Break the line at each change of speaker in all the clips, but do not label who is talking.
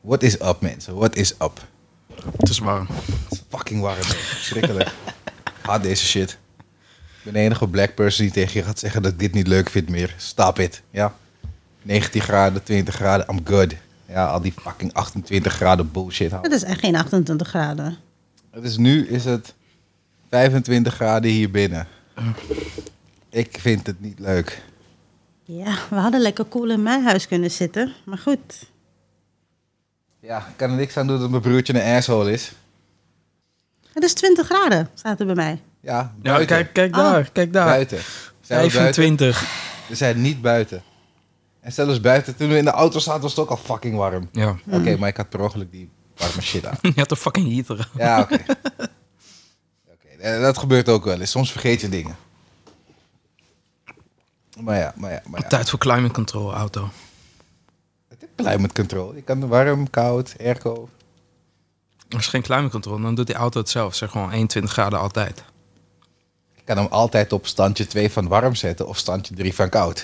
What is up, mensen? What is up?
Het is warm.
Het is fucking warm. Schrikkelijk. Haat deze shit. Ik ben de enige black person die tegen je gaat zeggen dat ik dit niet leuk vind meer. Stop it. Ja. 19 graden, 20 graden, I'm good. Ja, al die fucking 28 graden bullshit. hou.
Oh. Het is echt geen 28 graden.
Het is nu is het 25 graden hier binnen. Ik vind het niet leuk.
Ja, we hadden lekker koel in mijn huis kunnen zitten. Maar goed.
Ja, ik kan er niks aan doen dat mijn broertje een asshole is.
Het is 20 graden, staat er bij mij.
Ja, buiten.
Ja, kijk, kijk
Ah.
daar, kijk daar.
Buiten. Zijn we buiten?
25.
We zijn niet buiten. En zelfs buiten, toen we in de auto zaten, was het ook al fucking warm.
Ja.
Oké, maar ik had per ongeluk die warme shit aan.
Je had een fucking heater.
Ja, oké. Oké, eh, Dat gebeurt ook wel eens. Soms vergeet je dingen. Maar ja, maar ja, maar ja.
Tijd voor climate control auto.
Het is climate control. Je kan warm, koud, airco.
Als geen climate control, dan doet die auto het zelf. Zeg gewoon 21 graden altijd.
Je kan hem altijd op standje 2 van warm zetten of standje 3 van koud. Dat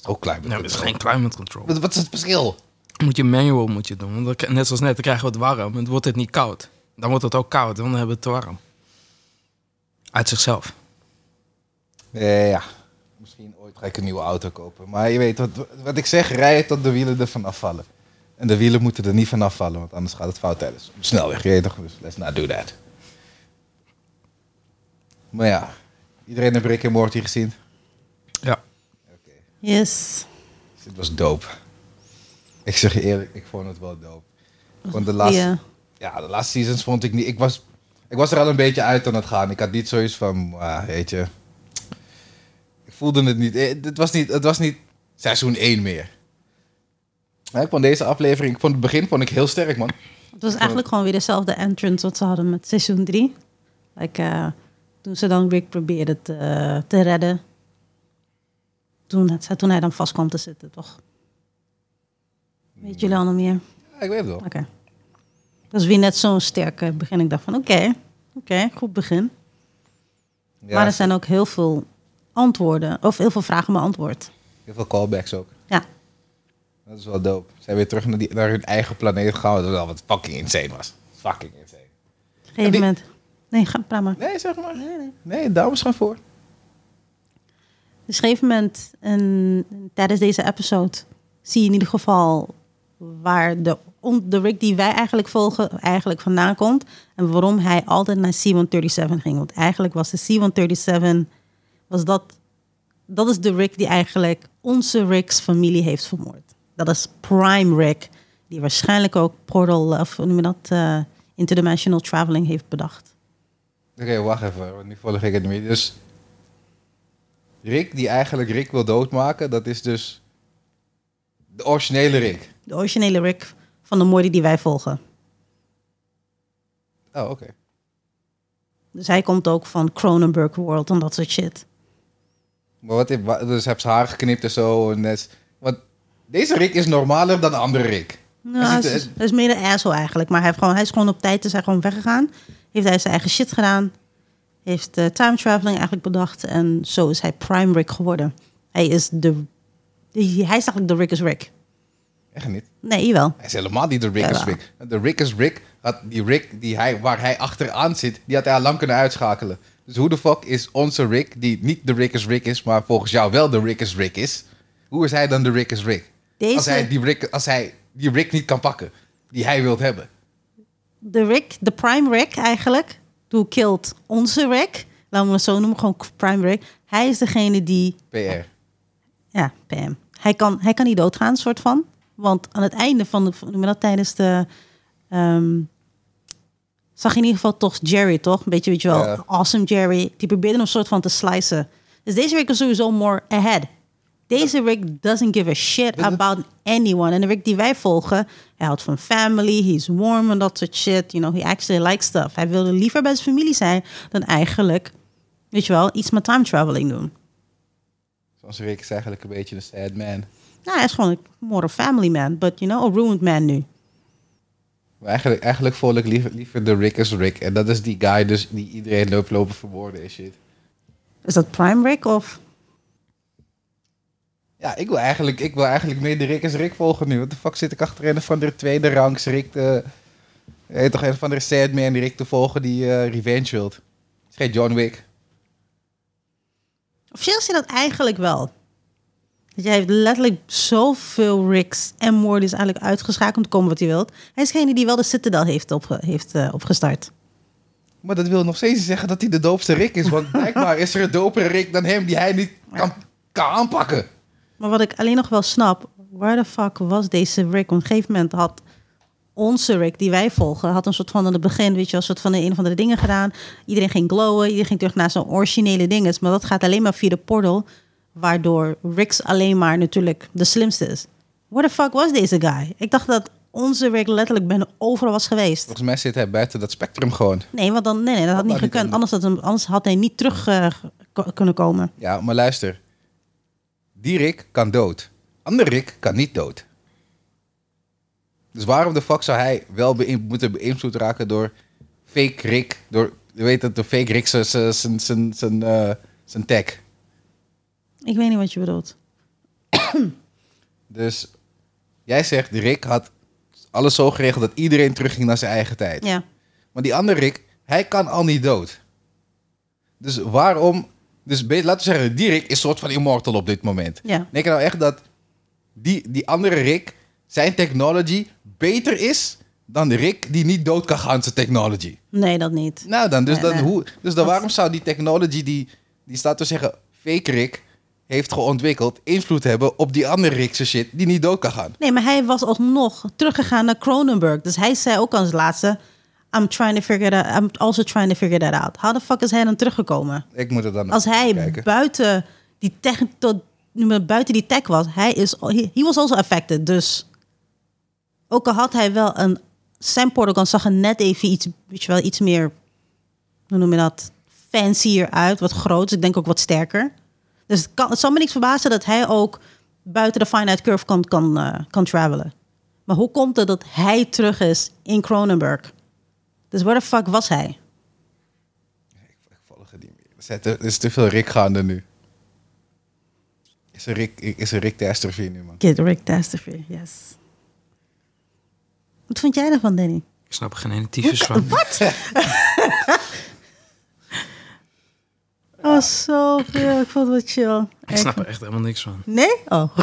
is ook climate
Nee, dat Nou, is
control.
geen climate control.
Wat, wat is het verschil?
Moet je manual moet je doen. Want dan k- net zoals net, dan krijgen we het warm. En dan wordt het niet koud. Dan wordt het ook koud, dan hebben we het te warm. Uit zichzelf.
Eh, ja, misschien ooit ga ik een nieuwe auto kopen. Maar je weet, wat, wat ik zeg, rijden tot de wielen ervan afvallen. En de wielen moeten er niet van afvallen, want anders gaat het fout tijdens de snelweg. Je weet toch, dus let's not do that. Maar ja, iedereen heeft Rick en Morty gezien.
Ja.
Yes.
Dit was dope. Ik zeg je eerlijk, ik vond het wel dope. Want de laatste,
Ja.
ja, de laatste seasons vond ik niet. Ik was, ik was er al een beetje uit aan het gaan. Ik had niet zoiets van, ah, weet je. Ik voelde het niet. Eh, Het was niet, het was niet seizoen 1 meer. Maar ik vond deze aflevering, ik vond het begin vond ik heel sterk, man.
Het was eigenlijk gewoon weer dezelfde entrance wat ze hadden met seizoen 3. Like, eh, toen ze dan Rick probeerde te, te redden. Toen, het, toen hij dan vast kwam te zitten, toch? Weet jullie allemaal meer?
Ja, ik weet het wel.
Oké. Dat is weer net zo'n sterke begin. Ik dacht van oké, oké, goed begin.
Ja,
Maar er zijn ook heel veel antwoorden, of heel veel vragen beantwoord.
Heel veel callbacks ook.
Ja,
Dat is wel dope. Ze zijn weer terug naar, die, naar hun eigen planeet gegaan. Dat is wel wat fucking insane was. Fucking insane.
op een gegeven
die-
moment. Nee, ga, praat maar.
Nee, zeg maar. Nee, nee. nee dames gaan voor.
Dus op een gegeven moment, en tijdens deze episode, zie je in ieder geval waar de, on- de Rick die wij eigenlijk volgen, eigenlijk vandaan komt. En waarom hij altijd naar C-137 ging. Want eigenlijk was de C-137, was dat, dat is de Rick die eigenlijk onze Rick's familie heeft vermoord. Dat is Prime Rick, die waarschijnlijk ook Portal, of hoe noem je dat, eh, Interdimensional Traveling heeft bedacht.
Oké, wacht even, want nu volg ik het niet meer. Dus Rick, die eigenlijk Rick wil doodmaken, dat is dus de originele Rick.
De originele Rick van de moorden die wij volgen.
Oh, oké.
Dus hij komt ook van Cronenberg World en dat soort shit.
Maar wat, wa- dus heb ze haar geknipt en zo. En net, want deze Rick is normaler dan de andere Rick.
Nou, hij
ziet
is,
er-
hij is meer een asshole eigenlijk. Maar hij, heeft gewoon, hij is gewoon op tijd is hij gewoon weggegaan. Heeft hij zijn eigen shit gedaan. Heeft eh, time traveling eigenlijk bedacht. En zo is hij Prime Rick geworden. Hij is de... Hij is eigenlijk de Rick is Rick.
Echt niet.
Nee, wel.
Hij is helemaal niet de Rick is
Jawel.
Rick. De Rick is Rick, had die Rick die hij, waar hij achteraan zit, die had hij al lang kunnen uitschakelen. Dus hoe de fuck is onze Rick, die niet de Rick is Rick is, maar volgens jou wel de Rick is Rick is, hoe is hij dan de Rick is Rick?
Deze-
Als, hij die Rick als hij die Rick niet kan pakken, die hij wilt hebben.
De Rick, de Prime Rick eigenlijk. Who killed onze Rick. Laten we het zo noemen, gewoon Prime Rick. Hij is degene die
PR.
Ja, PM. Hij kan, hij kan niet doodgaan, soort van. Want aan het einde van de... van- Noem je dat tijdens de... ehm, zag je in ieder geval toch Jerry, toch? Een beetje, weet je wel,
Ja.
awesome Jerry. Die probeerde hem soort van te slicen. Dus deze Rick is sowieso more ahead. Deze Rick doesn't give a shit about anyone. En de Rick die wij volgen, hij houdt van family, he's warm en dat soort shit. You know, he actually likes stuff. Hij wilde liever bij zijn familie zijn dan eigenlijk, weet je wel, iets met time traveling doen.
Onze Rick is eigenlijk een beetje een sad man.
Nou, hij is gewoon een- more a family man, but you know, a ruined man nu.
Maar eigenlijk, eigenlijk volg ik liever, liever de Rick is Rick. En dat is die guy dus die iedereen loopt lopen vermoorden en shit.
Is dat Prime Rick of?
Ja, ik wil eigenlijk, ik wil eigenlijk meer de Rick is Rick volgen nu. Wat de fuck zit ik achter een of andere tweede ranks Rick de... Heet toch een of andere Sandman Rick te volgen die eh, revenge wilt. Het is geen John Wick.
Officieel is hij dat eigenlijk wel. Want jij heeft letterlijk zoveel Ricks en Morty's eigenlijk uitgeschakeld om te komen wat hij wilt. Hij is degene die wel de Citadel heeft, opge- heeft eh, opgestart.
Maar dat wil nog steeds niet zeggen dat hij de doopste Rick is. Want blijkbaar is er een dopere Rick dan hem die hij niet kan, kan aanpakken.
Maar wat ik alleen nog wel snap, waar de fuck was deze Rick? Op een gegeven moment had onze Rick, die wij volgen, had een soort van aan het begin, weet je, een soort van een of andere dingen gedaan. Iedereen ging glowen, iedereen ging terug naar zijn originele dingen. Maar dat gaat alleen maar via de portal, waardoor Rick's alleen maar natuurlijk de slimste is. Where the fuck was deze guy? Ik dacht dat onze Rick letterlijk bijna overal was geweest.
Volgens mij zit hij buiten dat spectrum gewoon.
Nee, want dan, nee, nee dat had
Had
niet
hij niet
gekund.
kunnen.
Anders had, hem, anders had hij niet terug eh, ko- kunnen komen.
Ja, maar luister. Die Rick kan dood. Andere Rick kan niet dood. Dus waarom de fuck zou hij wel beïn- moeten beïnvloed raken door fake Rick? Door, je weet dat, door fake Rick zijn- zijn- zijn- zijn- zijn eh, zijn tag.
Ik weet niet wat je bedoelt.
Dus jij zegt, die Rick had alles zo geregeld dat iedereen terugging naar zijn eigen tijd.
Ja.
Maar die andere Rick, hij kan al niet dood. Dus waarom... Dus be- laten we zeggen, die Rick is een soort van immortal op dit moment.
Ja.
Denk je nou echt dat die, die andere Rick, zijn technology beter is dan de Rick die niet dood kan gaan zijn technology?
Nee, dat niet.
Nou dan, dus,
Nee,
dan,
nee.
Hoe, dus dan
Dat-
waarom zou die technology die, die staat te zeggen, fake Rick heeft geontwikkeld, invloed hebben op die andere Rickse shit die niet dood kan gaan?
Nee, maar hij was alsnog teruggegaan naar Cronenberg. Dus hij zei ook als laatste... I'm trying to figure that I'm also trying to figure that out. How the fuck is hij dan teruggekomen?
Ik moet het dan
Als hij
kijken.
buiten die tech... Tot, nu maar buiten die tech was, hij is... He, he was also affected, dus... Ook al had hij wel een... Zijn portal zag er net even iets... Weet je wel, iets meer... Hoe noem je dat? Fancier uit, wat groots. Ik denk ook wat sterker. Dus het, kan, het zal me niks verbazen dat hij ook... buiten de finite curve kan, kan, eh, kan travelen. Maar hoe komt het dat hij terug is in Cronenberg? Dus waar de fuck was hij?
Ik volg het niet meer. Er zijn te- Er is te veel Rick gaande nu. Is er Rick, is er Rick Testervie nu, man?
Kid Rick Dastafri, yes. Wat vond jij ervan, Danny?
Ik snap er geen ene tyfus van.
Oh, zo veel. Ik vond het wat chill.
Ik snap er echt helemaal niks van.
Nee? Oh.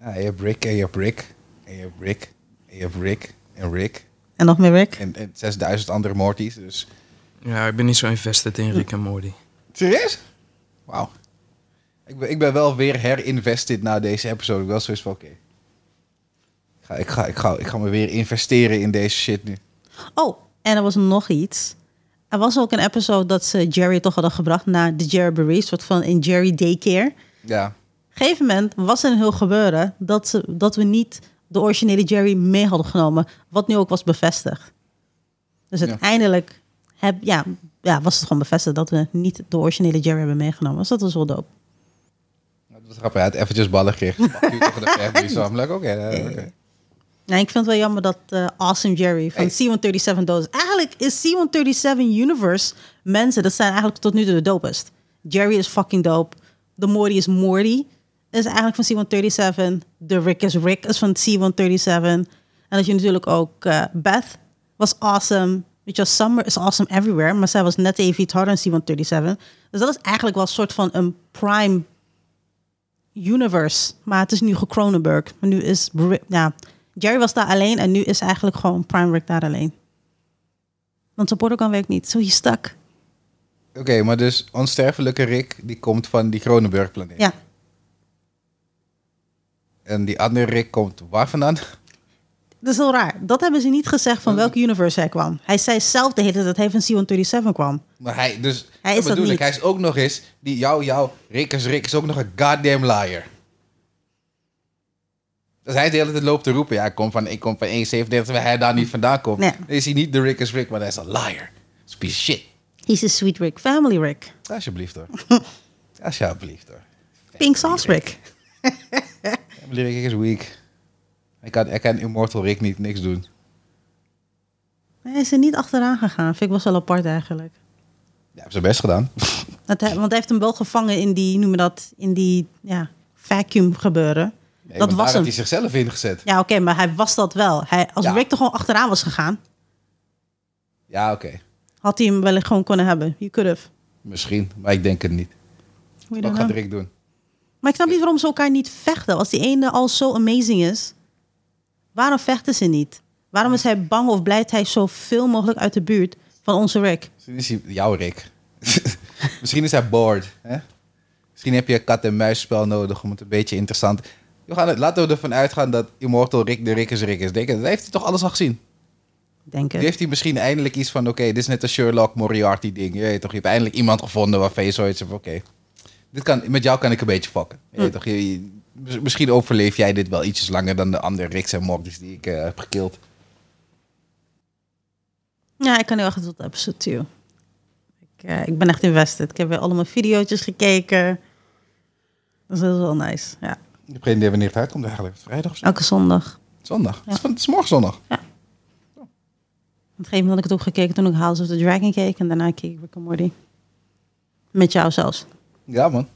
Ja, je hebt Rick en je hebt Rick en je hebt Rick en je hebt Rick en Rick
En nog meer Rick?
en, en 6000 andere Morty's. Dus.
Ja, ik ben niet zo invested in Rick en Morty.
Serieus? Wauw. Ik ben, ik ben wel weer herinvested na deze episode. Ik ben Wel zoiets van, oké. Ik, ga, ik, ga, ik, ga, ik ga me weer investeren in deze shit nu.
Oh, en er was nog iets. Er was ook een episode dat ze Jerry toch hadden gebracht naar de Jerry Berry, soort van in Jerry Daycare.
Ja.
Op een gegeven moment was er een heel gebeuren dat, ze, dat we niet de originele Jerry mee hadden genomen. Wat nu ook was bevestigd. Dus
Ja.
uiteindelijk heb, ja, ja, was het gewoon bevestigd dat we niet de originele Jerry hebben meegenomen. Dus dat was wel dope.
Dat was grappig. Hij had eventjes ballen gekregen. Fuck you tegen de family. Zo, I'm like, oké. eh, oké.
Nou, ik vind het wel jammer dat eh, Awesome Jerry van
Hey.
C-137 dood is. Eigenlijk is C-137 Universe mensen, dat zijn eigenlijk tot nu toe de dopest. Jerry is fucking dope. De Morty is Morty. Is eigenlijk van C-137. De Rick is Rick is van C-137. En dat je natuurlijk ook eh, Beth was awesome. Weet je, wel, Summer is awesome everywhere. Maar zij was net even iets harder dan C-137. Dus dat is eigenlijk wel een soort van een prime universe. Maar het is nu gekronenburg. Maar nu is... Bri- Ja, Jerry was daar alleen en nu is eigenlijk gewoon Prime Rick daar alleen. Want zijn portal kan werkt niet. Zo, je stak.
Oké, maar dus onsterfelijke Rick, die komt van die Kronenburg-planeet.
Ja.
En die andere Rick komt waar vandaan?
Dat is heel raar. Dat hebben ze niet gezegd van welke universe hij kwam. Hij zei zelf de hele tijd dat hij van Sion 37 kwam.
Maar hij, dus,
Hij
dat
is dat
bedoel
niet.
ik, hij is ook nog eens, die jou, jou, Rick is Rick, is ook nog een goddamn liar. Dus hij de hele tijd loopt te roepen, ja, ik kom van, ik kom van 137, waar hij daar niet vandaan komt.
Nee.
Dan is hij niet de Rick is Rick, maar hij is een liar. Dat is piece shit.
He's a sweet Rick. Family Rick.
Alsjeblieft hoor. Alsjeblieft hoor.
Pink sauce Rick.
Family Rick is weak. Hij kan, hij kan Immortal Rick niet niks doen.
Hij is er niet achteraan gegaan. Vind ik was wel apart eigenlijk.
hebben ze best gedaan.
Dat hij- want hij heeft hem wel gevangen in die, noem je dat, in die ja, vacuüm gebeuren.
Nee,
dat
want daar
was
had
hem.
hij zichzelf ingezet.
Ja, oké, maar hij was dat wel. Hij, als
Ja.
Rick er gewoon achteraan was gegaan,
Ja, oké.
had hij hem wellicht gewoon kunnen hebben. You could have.
Misschien, maar ik denk het niet.
We don't
Wat gaat
know.
Rick doen?
nou? Maar ik snap niet waarom ze elkaar niet vechten. Als die ene al zo amazing is, waarom vechten ze niet? Waarom is hij bang of blijft hij zoveel mogelijk uit de buurt van onze Rick?
Misschien is hij jouw Rick. Misschien is hij bored. Hè? Misschien heb je een kat- en muisspel nodig om het een beetje interessant... We gaan het, laten we ervan uitgaan dat Immortal Rick de Rick is Rick is. Denk, dat heeft hij toch alles al gezien?
Denk
Nu
ik.
heeft hij misschien eindelijk iets van... Oké, dit is net een Sherlock Moriarty ding. Je weet toch, je hebt eindelijk iemand gevonden waarvan je zoiets hebt... Oké, dit kan, met jou kan ik een beetje fokken. Je weet toch, je- je- mis- misschien overleef jij dit wel ietsjes langer dan de andere Ricks en Mortys die ik eh, heb gekild.
Ja, ik kan heel erg tot episode 2. Ik, eh, ik ben echt invested. Ik heb weer allemaal video's gekeken. Dat is wel nice. Ja.
Ik heb geen idee wanneer het uitkomt eigenlijk. Vrijdag of zo?
Elke zondag.
Zondag. Het, is van, het is morgen zondag.
Op een gegeven moment had ik het ook gekeken toen ik House of the Dragon keek. En daarna keek ik Rick and Morty. Met jou zelfs.
Ja, man.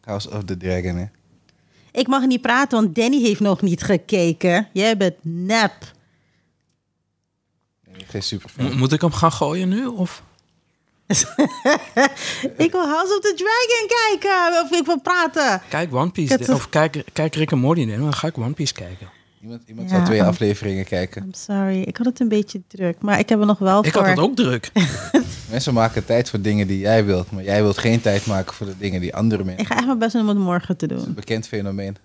House of the Dragon, hè.
Ik mag niet praten, want Danny heeft nog niet gekeken. Jij bent nep.
Geen superfan.
Mo- moet ik hem gaan gooien nu? Of?
Ik wil House of the Dragon kijken. Of ik wil praten.
Kijk One Piece.
Ik had
de- Of kijk, kijk Rick en Morty. nemen, dan ga ik One Piece kijken.
Iemand, iemand
Ja.
zou twee afleveringen kijken.
I'm sorry. Ik had het een beetje druk. Maar ik heb er nog wel
Ik
voor.
had het ook druk.
Mensen maken tijd voor dingen die jij wilt, maar jij wilt geen tijd maken voor de dingen die andere mensen.
Ik ga echt mijn best doen om het morgen te doen.
Een bekend fenomeen.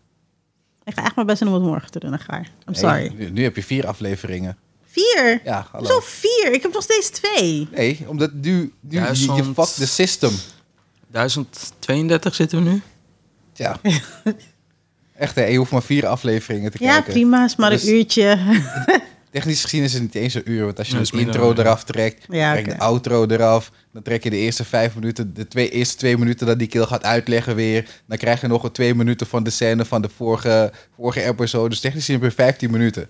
Ik ga echt mijn best doen om het morgen te doen. Echt waar. I'm
Nee,
sorry.
nu, nu heb je vier afleveringen.
Vier?
Ja, hallo.
Zo vier. Ik heb nog steeds twee.
Nee, omdat nu, nu je, je
Duizend.
fuck the system.
1032 zitten we nu.
Ja. Echt, hè, je hoeft maar vier afleveringen te
Ja,
kijken.
prima. Is maar
Dus-
een uurtje.
Technisch gezien is het niet eens een uur, want als je
Ja,
de
is minder
intro
dan-
eraf trekt,
Ja,
trek
oké.
de outro eraf, dan trek je de eerste vijf minuten, de twee, eerste twee minuten dat die kill gaat uitleggen weer, dan krijg je nog een twee minuten van de scène van de vorige, vorige episode, dus technisch gezien heb je 15 minuten.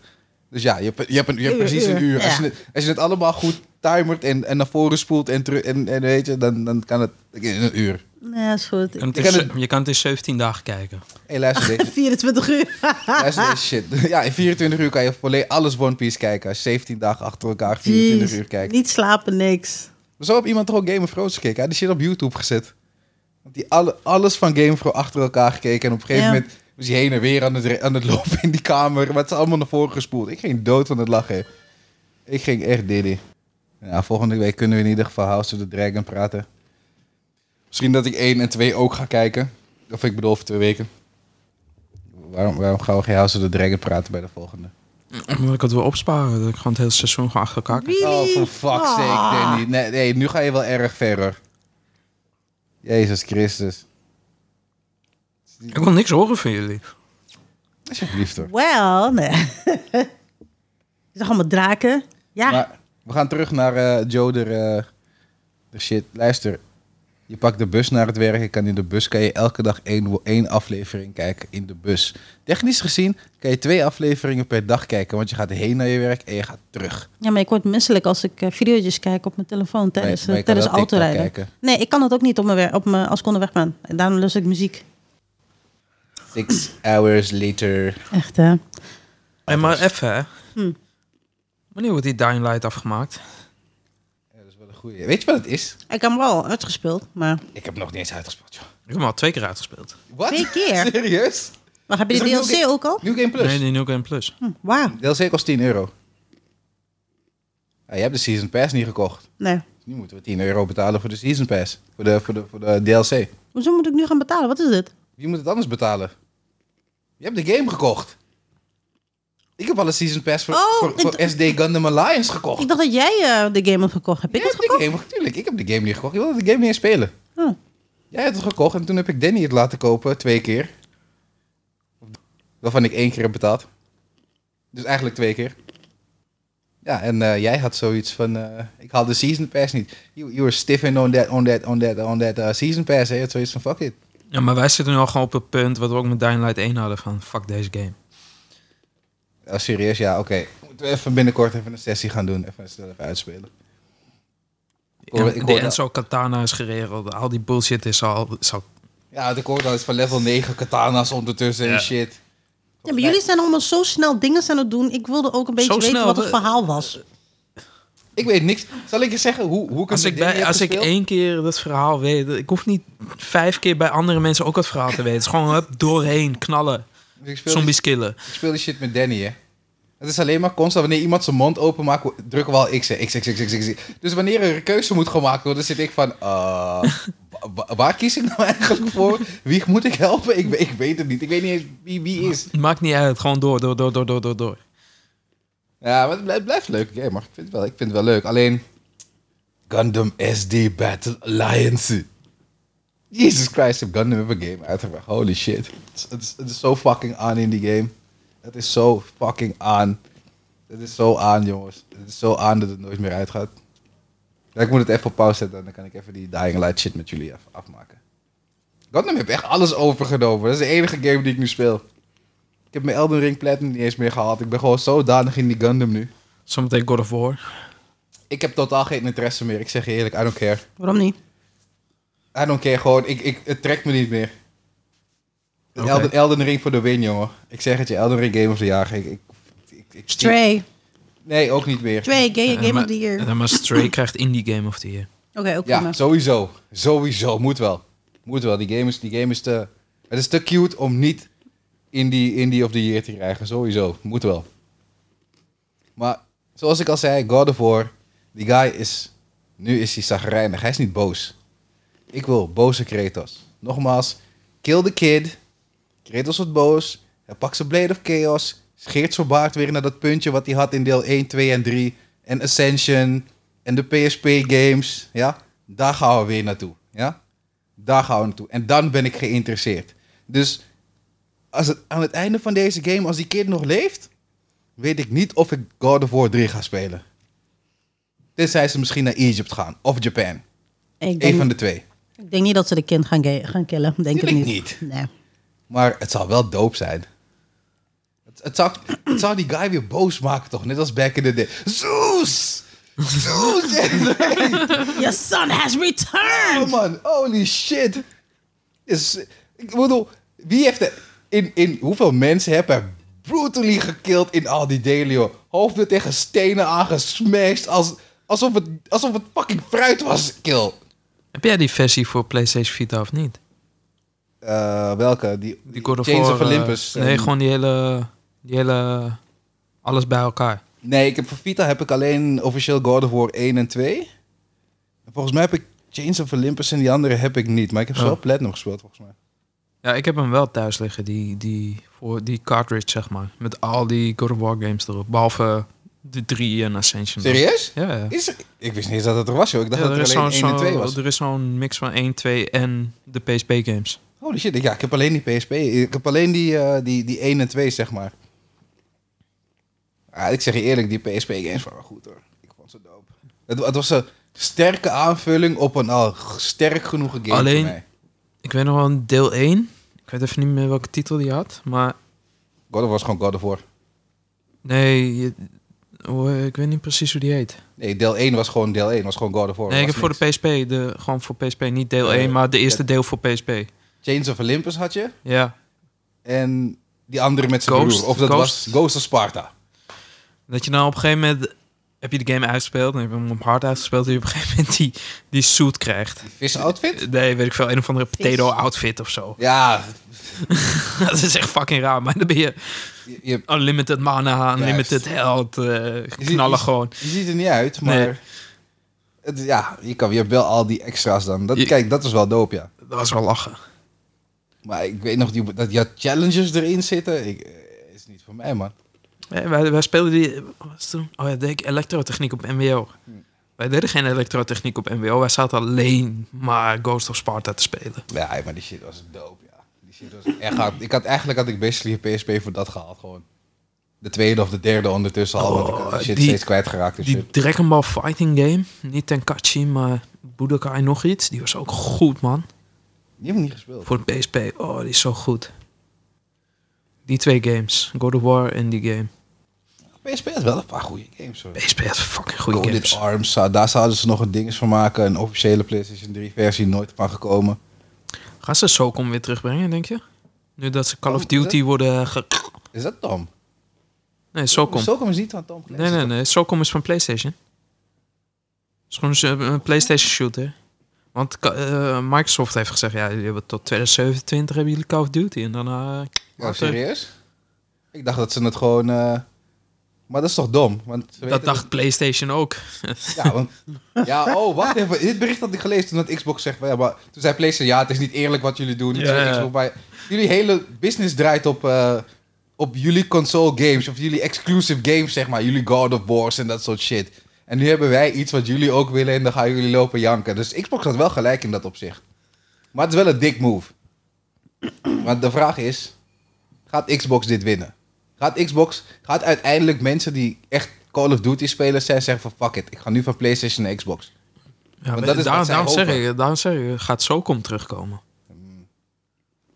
Dus ja, je hebt, je hebt, een, je hebt
Uur,
precies een
uur,
uur. Als,
ja.
je het, als je het allemaal goed timert en, en naar voren spoelt en, teru- en, en weet je, dan, dan kan het in een uur.
Nee, is goed.
Je kan het
Ik
in
kan
ze- Je kan het in 17 dagen kijken.
hey, luister, deze,
24 uur.
luister deze shit. Ja, in 24 uur kan je volledig alles One Piece kijken. Als je 17 dagen achter elkaar 24 uur Oh, kijkt.
Niet slapen, niks.
Maar Zo heb iemand toch ook Game of Thrones gekeken. Hij had die shit op YouTube gezet. Want die alle, alles van Game of Thrones achter elkaar gekeken. En op een gegeven
Ja.
moment was hij heen en weer aan het, re- aan het lopen in die kamer. Maar het is allemaal naar voren gespoeld. Ik ging dood van het lachen. Ik ging echt diddy. Ja, volgende week kunnen we in ieder geval House of the Dragon praten. Misschien dat ik 1 en 2 ook ga kijken. Of ik bedoel, over twee weken. Waarom, waarom gaan we geen House of the Dragon praten bij de volgende?
Omdat ik het wil opsparen. Dat ik gewoon het hele seizoen gewoon achter elkaar kijk.
Oh,
Really?
for fuck's
Ah.
sake, Danny. Nee, nee, nu ga je wel erg ver, hoor. Jezus Christus.
Ik wil niks horen van jullie.
Alsjeblieft, hoor.
Wel, nee. Je zag allemaal draken. Ja,
Maar we gaan terug naar eh, Joe, de, eh, de shit. Luister, je pakt de bus naar het werk. Je kan in de bus kan je elke dag één, wo- één aflevering kijken in de bus. Technisch gezien kan je twee afleveringen per dag kijken. Want je gaat heen naar je werk en je gaat terug.
ja, maar ik word misselijk als ik eh, video's kijk op mijn telefoon tijdens,
Maar- maar je
eh,
kan
tijdens
wel TikTok
autorijden.
kijken.
Nee, ik kan het ook niet op mijn, wer- op mijn, als ik onderweg ben. En Daarom lust ik muziek.
Six hours later.
Echt, hè?
En maar even, hè.
Hm.
Wanneer wordt die Dying Light afgemaakt?
Ja, dat is wel een goeie. Weet je wat het is?
Ik heb hem wel uitgespeeld, maar...
Ik heb hem nog niet eens uitgespeeld, joh.
Ik heb hem al twee keer uitgespeeld.
Wat?
Twee keer?
Serieus?
Maar heb je
Is
de
er ook
DLC
nog-
ook al?
New Game Plus.
Nee, die New Game Plus.
Hm, Wauw.
DLC kost 10 euro. Ja, je hebt de Season Pass niet gekocht.
Nee.
Dus nu moeten we 10 euro betalen voor de Season Pass. Voor de, voor de, voor de DLC.
Hoezo moet ik nu gaan betalen? Wat is dit?
Wie moet het anders betalen? Je hebt de game gekocht. Ik heb al een Season Pass voor,
Oh,
voor,
ik
voor
d-
SD Gundam Alliance gekocht.
Ik dacht dat jij eh, de game had gekocht. Heb ik
Jij
het
hebt de
gekocht?
game, natuurlijk. Ik heb de game niet gekocht. Je wilde de game niet eens spelen.
Oh.
Jij hebt het gekocht en toen heb ik Danny het laten kopen. Twee keer. Waarvan ik één keer heb betaald. Dus eigenlijk twee keer. Ja, en eh, jij had zoiets van... eh, ik had de season pass niet. You, you were stiffing on that, on that, on that, on that eh, season pass. hè. Je had zoiets van, fuck it.
Ja, maar wij zitten nu al gewoon op het punt wat we ook met Dying Light 1 hadden van fuck deze game.
Oh, Ja, serieus, ja, oké. Moeten we even binnenkort even een sessie gaan doen. Even snel even uitspelen. hoor- ik
en,
hoor
de
dat.
Enzo Katana is geregeld. Al die bullshit is al... Is al
Ja, ik hoor dat is van level 9 katana's ondertussen
Ja.
en shit.
Ja, maar jullie zijn allemaal zo snel dingen aan het doen. Ik wilde ook een beetje
Zo
weten
snel,
wat
eh,
het
we-
verhaal was.
Ik weet niks. Zal ik je zeggen hoe, hoe ik
als
het
ik, bij, als ik één keer dat verhaal weet... Ik hoef niet vijf keer bij andere mensen ook het verhaal te weten. Het is gewoon hup, doorheen, knallen.
Ik speel,
Zombies killen.
ik speel die shit met Danny, hè. Het is alleen maar constant, wanneer iemand zijn mond openmaakt, drukken we al X, X, X, X, X, X, X. Dus wanneer er een keuze moet gemaakt worden, zit ik van, eh, wa- wa- waar kies ik nou eigenlijk voor? Wie moet ik helpen? Ik, we- ik weet het niet. Ik weet niet eens wie wie is.
Maakt niet uit. Gewoon door, door, door, door, door, door, door.
Ja, maar het blijft, blijft leuk, ja, maar ik vind, het wel, ik vind het wel leuk. Alleen, Gundam SD Battle Alliance. Jesus Christ, heb Gundam heb een game uitgebracht. Holy shit. Het is- Het is- het is zo fucking aan in die game. Het is zo fucking aan. Het is zo aan, jongens. Het is zo aan dat het nooit meer uitgaat. Ja, ik moet het even op pauze zetten, dan kan ik even die Dying Light shit met jullie af- afmaken. Gundam heeft echt alles overgenomen. Dat is de enige game die ik nu speel. Ik heb mijn Elden Ring Platinum niet eens meer gehaald. Ik ben gewoon zodanig in die Gundam nu.
Zometeen God of War.
Ik heb totaal geen interesse meer. Ik zeg je eerlijk, I don't care.
Waarom niet?
I don't care, gewoon. Ik, ik, het trekt me niet meer. De
Oké.
Elden, Elden Ring voor de win, jongen. Ik zeg het je, Elden Ring Game of the Jaar. Ik, ik, ik, ik-
Stray.
Nee, ook niet meer.
Stray, gay,
Eh,
Game
maar-
of the Year.
eh, Maar Stray krijgt Indie Game of the Year.
Oké, ook
Ja,
prima.
sowieso. Sowieso, moet wel. Moet wel, die game is, die game is te... Het is te cute om niet Indie, indie of the Year te krijgen. Sowieso, moet wel. Maar zoals ik al zei, God of War, die guy is... Nu is hij zagrijnig, hij is niet boos. Ik wil boze Kratos. Nogmaals, kill the kid. Kratos wordt boos. Hij pakt zijn Blade of Chaos. Scheert zijn baard weer naar dat puntje wat hij had in deel 1, 2 en 3. En Ascension. En de PSP-games. Ja, daar gaan we weer naartoe. Ja, daar gaan we naartoe. En dan ben ik geïnteresseerd. Dus als het, aan het einde van deze game, als die kid nog leeft... weet ik niet of ik God of War 3 ga spelen. Tenzij ze misschien naar Egypte gaan. Of Japan.
Ik,
Eén
denk,
van de twee.
ik denk niet dat ze de kind gaan, gay- gaan killen. Denk ik
Tuurlijk
niet.
niet.
Nee.
Maar het zal wel doop zijn. Het, het, zou, het zou die guy weer boos maken, toch? Net als back in the day. Zeus! Zeus!
Your son has returned!
oh man, holy shit. Is, ik bedoel, wie heeft er... In, in, hoeveel mensen hebben er brutally gekild in al die delen, joh? Hoofden tegen stenen aangesmashed. Als, alsof, het, alsof het fucking fruit was, kill.
Heb jij die versie voor PlayStation Vita of niet?
Eh, welke? Die,
Die God of
Chains
War,
of
eh,
Olympus.
nee,
En-
gewoon die hele, die hele... Alles bij elkaar.
Nee, ik heb, voor Vita heb ik alleen officieel God of War 1 en 2. En volgens mij heb ik Chains of Olympus en die andere heb ik niet. Maar ik heb ze
Oh.
wel Platinum gespeeld, volgens mij.
Ja, ik heb hem wel thuis liggen, die, die, voor, die cartridge, zeg maar. Met al die God of War games erop. Behalve de 3 en Ascension.
Serieus?
Ja, ja.
Is er- ik wist niet eens dat het er was, joh. Ik dacht
Ja,
dat
er,
er
is zo'n,
alleen 1 en 2
zo'n-
was.
er is zo'n mix van 1, 2 en de PSP games.
Holy shit, ja, ik heb alleen die PSP. Ik heb alleen die, eh, die, die 1 en 2, zeg maar. Ah, ik zeg je eerlijk, die PSP-games waren goed, hoor. Ik vond ze dope. Het, het was een sterke aanvulling op een al sterk genoeg game
Alleen-
voor mij.
Ik weet nog wel een deel 1. Ik weet even niet meer welke titel die had. Maar
God of War is gewoon God of War.
nee, je- hoe- ik weet niet precies hoe die heet.
Nee, deel 1 was gewoon deel 1. was gewoon God of War.
Nee, ik
Oh, Was
heb voor
niks.
de PSP, de, gewoon voor PSP, niet deel
Eh,
1, maar de eerste
ja.
deel voor PSP.
Chains of Olympus had je.
Ja,
En die andere met zijn
Ghost?
broer. Of dat
Ghost?
was Ghost of Sparta.
dat je nou op een gegeven moment, heb je de game uitgespeeld, en heb je hem op hard uitgespeeld, en je op een gegeven moment die, die suit krijgt.
Die visoutfit?
Nee, weet ik veel, een of andere
Vis.
potato outfit of zo.
Ja,
dat is echt fucking raar, maar dan ben je
je, je,
unlimited mana, unlimited held, eh, knallen gewoon.
je ziet er niet uit, maar...
Nee.
Het, ja, je, kan, je hebt wel al die extra's dan. Dat,
Je-
kijk, dat is wel dope, ja.
Dat was wel lachen.
Maar ik weet nog die, dat je challenges erin zitten. Ik, eh, is niet voor mij, man.
Nee, Eh, wij, wij speelden die. Wat was het toen? Oh ja, deed ik elektrotechniek op MWO. Wij deden geen elektrotechniek op MWO. Wij zaten alleen maar Ghost of Sparta te spelen.
Ja, maar die shit was dope, ja. Die shit was echt hard. Ik had, eigenlijk had ik basically een PSP voor dat gehaald, gewoon. De tweede of de derde ondertussen al. want ik had
Oh,
die shit
die-
steeds kwijtgeraakt en shit.
Die Dragon Ball Fighting Game. Niet Tenkachi, maar Budokai nog iets. Die was ook goed, man.
Die heb ik niet gespeeld.
Voor de PSP. Oh, die is zo goed. Die twee games. God of War en die game.
PSP had wel een paar goede games. Hoor.
PSP had fucking goede
Golden
games.
Arms, zou- daar zouden ze nog een ding van maken. Een officiële PlayStation 3 versie, nooit van gekomen.
Gaan ze Socom weer terugbrengen, denk je? Nu dat ze Call
Oh,
of
is
Duty worden ge...
Is dat Tom?
Nee, Socom.
Socom is niet van Tom.
Nee, nee, nee. Socom is van PlayStation. Het is gewoon een- een PlayStation shooter. Want ka- eh, Microsoft heeft gezegd, ja, jullie hebben tot 2027 hebben jullie Call of Duty. En eh, daarna...
Oh, serieus? Ik dacht dat ze het gewoon... eh, Maar dat is toch dom? Want ze weten
dat dacht PlayStation ook.
Ja, want, ja, oh, wacht even. Dit bericht had ik gelezen toen dat Xbox zegt... Ja, maar, toen zei PlayStation, ja, het is niet eerlijk wat jullie doen. Toen
Ja,
zei
ja.
Xbox, maar jullie hele business draait op, eh, op jullie console games. Of jullie exclusive games, zeg maar. Jullie God of Wars en dat soort shit. En nu hebben wij iets wat jullie ook willen en dan gaan jullie lopen janken. Dus Xbox had wel gelijk in dat opzicht. Maar het is wel een dik move. Maar de vraag is, gaat Xbox dit winnen? Gaat Xbox, gaat uiteindelijk mensen die echt Call of Duty spelers zijn, zeggen van fuck it, ik ga nu van PlayStation naar Xbox.
Ja,
dat
maar
is
daar-
wat zij
daarom, zeg
hopen.
ik, daarom zeg ik, gaat Socom terugkomen.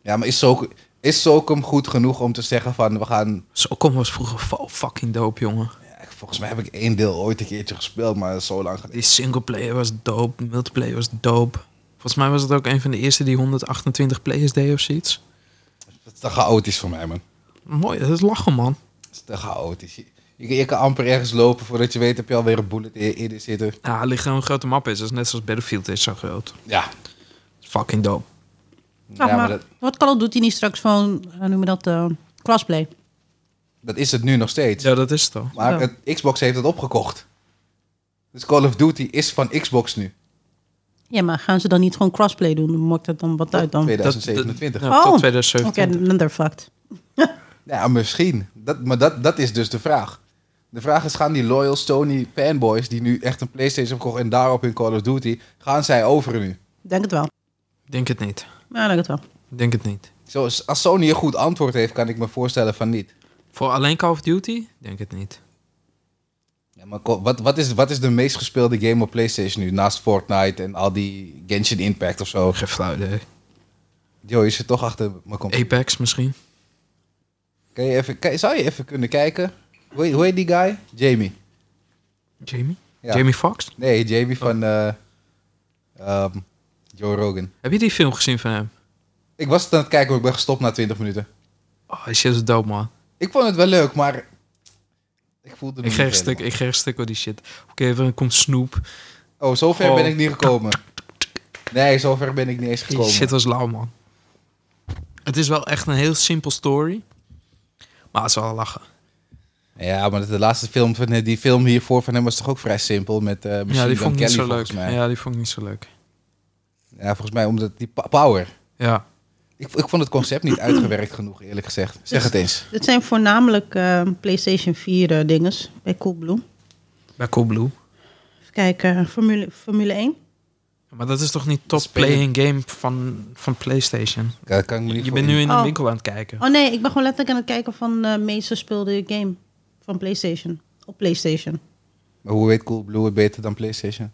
Ja, maar is Socom, is Socom goed genoeg om te zeggen van we gaan...
Socom was vroeger fo- fucking dope, jongen.
Ja, volgens mij heb ik één deel ooit een keertje gespeeld, maar dat is zo lang geleden.
Die singleplayer was dope, multiplayer was dope. Volgens mij was het ook een van de eerste die 128 players deed of zoiets.
Dat is te chaotisch voor mij, man.
Mooi, dat is lachen, man.
Dat is te chaotisch. Je, je- je kan amper ergens lopen voordat je weet heb je alweer een bullet in, in zitten.
Ja, het ligt aan hoe groot de map is. Dat is net zoals Battlefield is zo groot.
Ja.
Dat is fucking dope.
Vraag
ja, maar
maar,
dat,
Wat Call of Duty niet straks van, eh, noem je dat, eh, crossplay?
dat is het nu nog steeds.
Ja, dat is het al.
Maar
Ja.
het, Xbox heeft het opgekocht. Dus Call of Duty is van Xbox nu.
Ja, maar gaan ze dan niet gewoon crossplay doen? Maakt dat dan wat uit dan? Oké,
2027.
Ja,
Oh.
tot 2027.
dan they're fucked.
Ja, misschien. Dat, maar dat, dat is dus de vraag. De vraag is, gaan die loyal Sony fanboys... die nu echt een Playstation hebben gekocht en daarop hun Call of Duty... gaan zij over nu?
Denk het wel.
Ik Denk het niet.
Ja, denk het wel.
Ik Denk het niet.
Zo, als Sony een goed antwoord heeft, kan ik me voorstellen van niet.
Voor alleen Call of Duty? Denk het niet.
Ja, maar ko- wat, wat, is, wat is de meest gespeelde game op Playstation nu? Naast Fortnite en al die Genshin Impact of zo.
Geen flauw idee.
Joh, je zit toch achter mijn computer.
Apex misschien?
Kan je even, kan- zou je even kunnen kijken? Hoe, heet- hoe heet die guy? Jamie.
Jamie?
Ja.
Jamie Foxx?
Nee, Jamie van eh, ehm, Joe Rogan.
Heb je die film gezien van hem?
Ik was het aan het kijken, maar ik ben gestopt na 20 minuten.
Oh, die shit is dope, man.
Ik vond het wel leuk, maar ik voelde me
Ik
niet
geef een
helemaal.
stuk, ik geef een stuk door die shit. Oké, even komt Snoop.
Oh, zover
Oh.
ben ik niet gekomen. Nee, zover ben ik niet eens
Die
gekomen.
shit was lauw, man. Het is wel echt een heel simpel story. Maar het is wel lachen.
Ja, maar de laatste film van eh, die film hiervoor van hem was toch ook vrij simpel met eh Machine
ja, die
Gun
vond ik niet
Kelly,
zo leuk.
volgens mij. Ja.
Ja, die vond ik niet zo leuk.
volgens mij omdat die pa- power.
Ja.
Ik, ik vond het concept niet uitgewerkt genoeg, eerlijk gezegd. Zeg het eens.
Dit zijn voornamelijk eh, PlayStation 4 eh, dinges bij Coolblue.
Bij Coolblue.
Even kijken, Formule, Formule 1.
Maar dat is toch niet top
spelen-
playing game van, van PlayStation?
Daar kan ik me niet
Je
voor
bent nu in een
Oh.
winkel aan het kijken.
Oh nee, ik ben gewoon letterlijk aan het kijken van eh, de meest gespeelde game van PlayStation. Op PlayStation.
Maar hoe weet Coolblue het beter dan PlayStation?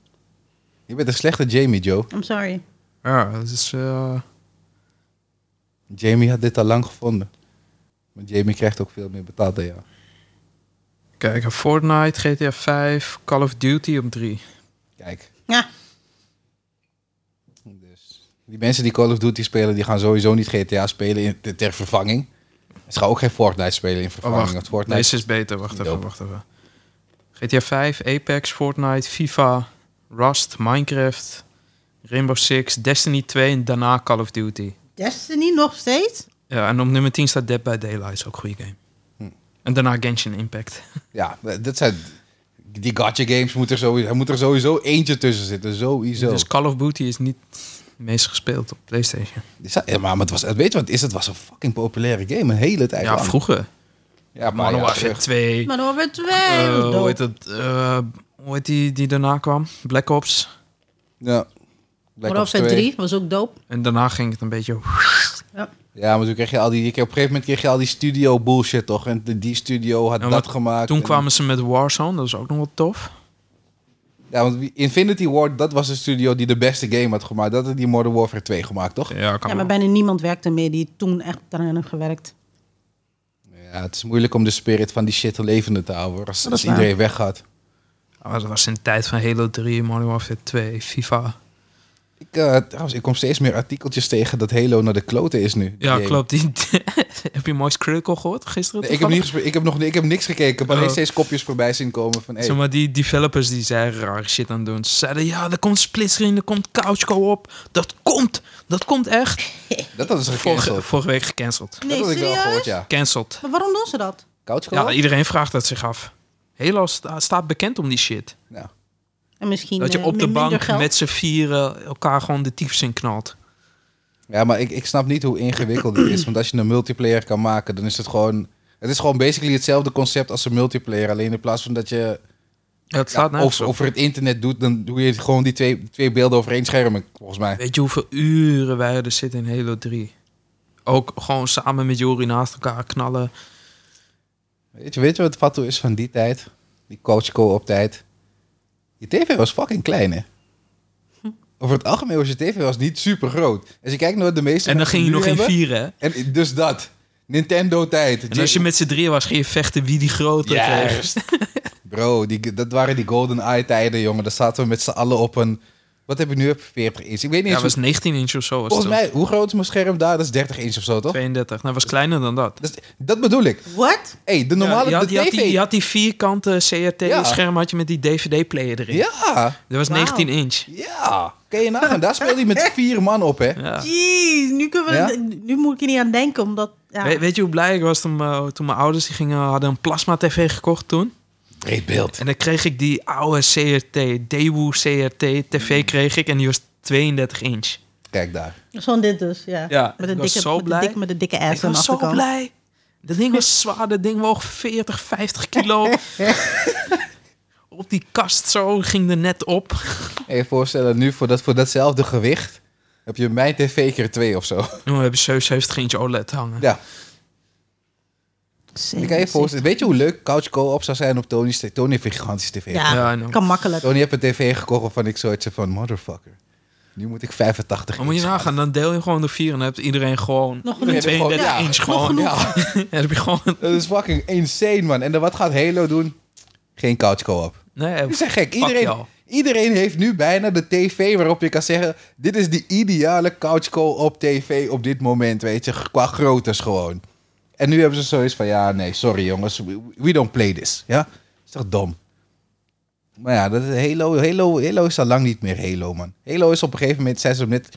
Je bent een slechte Jamie, Joe.
I'm sorry.
Ja, dat is... eh,
Jamie had dit al lang gevonden. Maar Jamie krijgt ook veel meer betaald dan jou.
Kijk, Fortnite, GTA 5, Call of Duty op 3.
Kijk.
Ja.
Dus die mensen die Call of Duty spelen, die gaan sowieso niet GTA spelen in, ter, ter vervanging. Ze gaan ook geen Fortnite spelen in vervanging.
Oh, wacht.
want Fortnite
Deze is beter, wacht
Niet
even,
dope.
wacht even. GTA 5, Apex, Fortnite, FIFA, Rust, Minecraft, Rainbow Six, Destiny 2 en daarna Call of Duty.
Destiny nog steeds?
Ja, en op nummer 10 staat Dead by Daylight, is ook een goede game.
Hm.
En daarna Genshin Impact.
Ja, dat zijn... Die gacha games moet er sowieso, er moet er sowieso eentje tussen zitten. Sowieso.
Dus Call of Duty is niet het meest gespeeld op PlayStation.
Is dat- ja, maar het was, weet je wat het is? Het was een fucking populaire game. Een hele tijd
Ja,
lang.
vroeger.
Ja, maar
Modern
ja,
Warfare
terug.
2.
Maar dan hebben we twee.
eh,
Dood.
hoe heet dat? eh, hoe heet die die daarna kwam? Black Ops.
Ja. Black
Modern
Ops
Warfare
2.
3 was ook dope.
En daarna ging het een beetje...
Ja, maar toen kreeg je al die... Op een gegeven moment kreeg je al die studio bullshit, toch? En de- die studio had
Ja, maar
dat gemaakt.
Toen
en-
kwamen ze met Warzone, dat was ook nog wel tof.
Ja, want wie- Infinity Ward, dat was de studio die de beste game had gemaakt. Dat had die Modern Warfare 2 gemaakt, toch?
Ja,
Ja, maar bijna niemand werkte meer die toen echt daarin heeft gewerkt.
Ja, Ja, het is moeilijk om de spirit van die shit levende te houden hoor, als,
Dat
als
is waar.
iedereen weggaat.
Maar Oh, dat was in de tijd van Halo 3, Modern Warfare 2, FIFA.
Ik, eh, trouwens, ik kom steeds meer artikeltjes tegen dat Halo naar de kloten is nu.
Ja,
Jee.
klopt. Die, heb je Moist Critical gehoord gisteren?
Nee, ik, heb niet, gespe- ik, heb nog, ik heb niks gekeken, maar alleen
Oh.
steeds kopjes voorbij zien komen van... Hey,
Zeg maar, die developers die zijn raar shit aan het doen. Ze zeiden, ja, er komt splitscreen, er komt couch co-op. Dat komt, dat komt echt.
dat hadden ze
Vorige,
gecanceld.
vorige week gecanceld.
dat
Nee,
had ik wel gehoord,
serieus?
ja.
Cancelled.
Maar waarom doen ze dat?
Couch
Ja,
co-op?
iedereen vraagt dat zich af. Halo sta- staat bekend om die shit.
Nou,
En misschien
Dat je
eh,
op de
min- minder
bank
geld.
met z'n vieren elkaar gewoon de tyfus in knalt.
Ja, maar ik, ik snap niet hoe ingewikkeld dit is. Want als je een multiplayer kan maken, dan is het gewoon... Het is gewoon basically hetzelfde concept als een multiplayer. Alleen in plaats van dat je
Ja, het staat
ja,
nergens
over,
op.
over het internet doet, dan doe je gewoon die twee, twee beelden over één scherm, volgens mij.
Weet je hoeveel uren wij er zitten in Halo 3? Ook gewoon samen met Jori naast elkaar knallen.
Weet je, weet je wat het fatsoen is van die tijd? Die coach co-op tijd. Je tv was fucking klein, hè? Over het algemeen was je tv was niet super groot. Als je kijkt naar wat de meeste
En dan
mensen
ging je
nu
nog in
hebben-
vieren, hè?
En dus dat. Nintendo-tijd.
En als je
J-
met z'n drieën was, ging je vechten wie die grote kreeg.
Juist. Bro, die, dat waren die golden eye tijden, jongen. Daar zaten we met z'n allen op een... Wat heb ik nu op 40 inch? Ik weet niet
Ja,
eens...
was
hoe-
19 inch of zo. Was
volgens
het
mij, hoe groot is mijn scherm daar? Dat is 30 inch of zo,
toch?
toch?
32. Nou, was kleiner dan dat.
Dat, is- dat bedoel ik.
What?
hey, de
Ja,
normale
je, had,
de
je, had
tv...
die, je had die vierkante
Ja.
CRT-scherm had je met die DVD-player erin.
ja,
Dat was
Wauw.
19 inch.
ja. Kun je nagaan. Daar speelde hij met vier man op, hè?
Ja.
Jeez, nu, kunnen we,
Ja?
nu moet ik er niet aan denken, omdat... Ja.
We- weet je hoe blij ik was toen, mijn- toen mijn ouders die gingen, hadden een plasma-tv gekocht toen?
Breed beeld.
En dan kreeg ik die oude CRT, Daewoo CRT TV kreeg ik en die was 32 inch.
Kijk daar.
Zo'n dit dus, ja.
Ja,
met,
ik
een
was
dikke,
zo
met, een
blij.
dikke, met een dikke ass
ik
aan de
was zo
achterkant.
blij. Dat ding was zwaar, dat ding woog 40, 50 kilo. op die kast zo ging er net op.
En je voorstellen, nu voor, dat, voor datzelfde gewicht... heb je mijn tv keer twee of zo.
Nu hebben we 77 inch OLED hangen.
Ja.
Zeker,
Ik kan je
zeker.
voorstellen... Weet je hoe leuk couch co-op zou zijn op Tony's... Tony heeft een gigantische tv.
Ja,
Ja, I know. Oh,
kan makkelijk.
Tony heeft een tv gekocht waarvan ik zoiets heb van... Motherfucker. Nu moet ik 85
Dan moet je
inch gaan.
nagaan, dan deel je gewoon door vier en dan hebt iedereen gewoon
Nog
een
genoeg.
32
Ja,
inch
nog
gewoon.
genoeg.
Ja,
Dan heb je gewoon,
dat is fucking insane, man. En dan wat gaat Halo doen? Geen couch co-op.
nee,
Die zijn gek.
fuck
Iedereen,
jou.
iedereen heeft nu bijna de tv waarop je kan zeggen... dit is de ideale couch co-op tv op dit moment, weet je. Qua groottes gewoon. En nu hebben ze zoiets van... ja, nee, sorry jongens. We, we don't play this. Ja? Dat is toch dom? Maar ja, dat is Halo, Halo, Halo is al lang niet meer Halo, man. Halo is op een gegeven moment... Zijn ze net,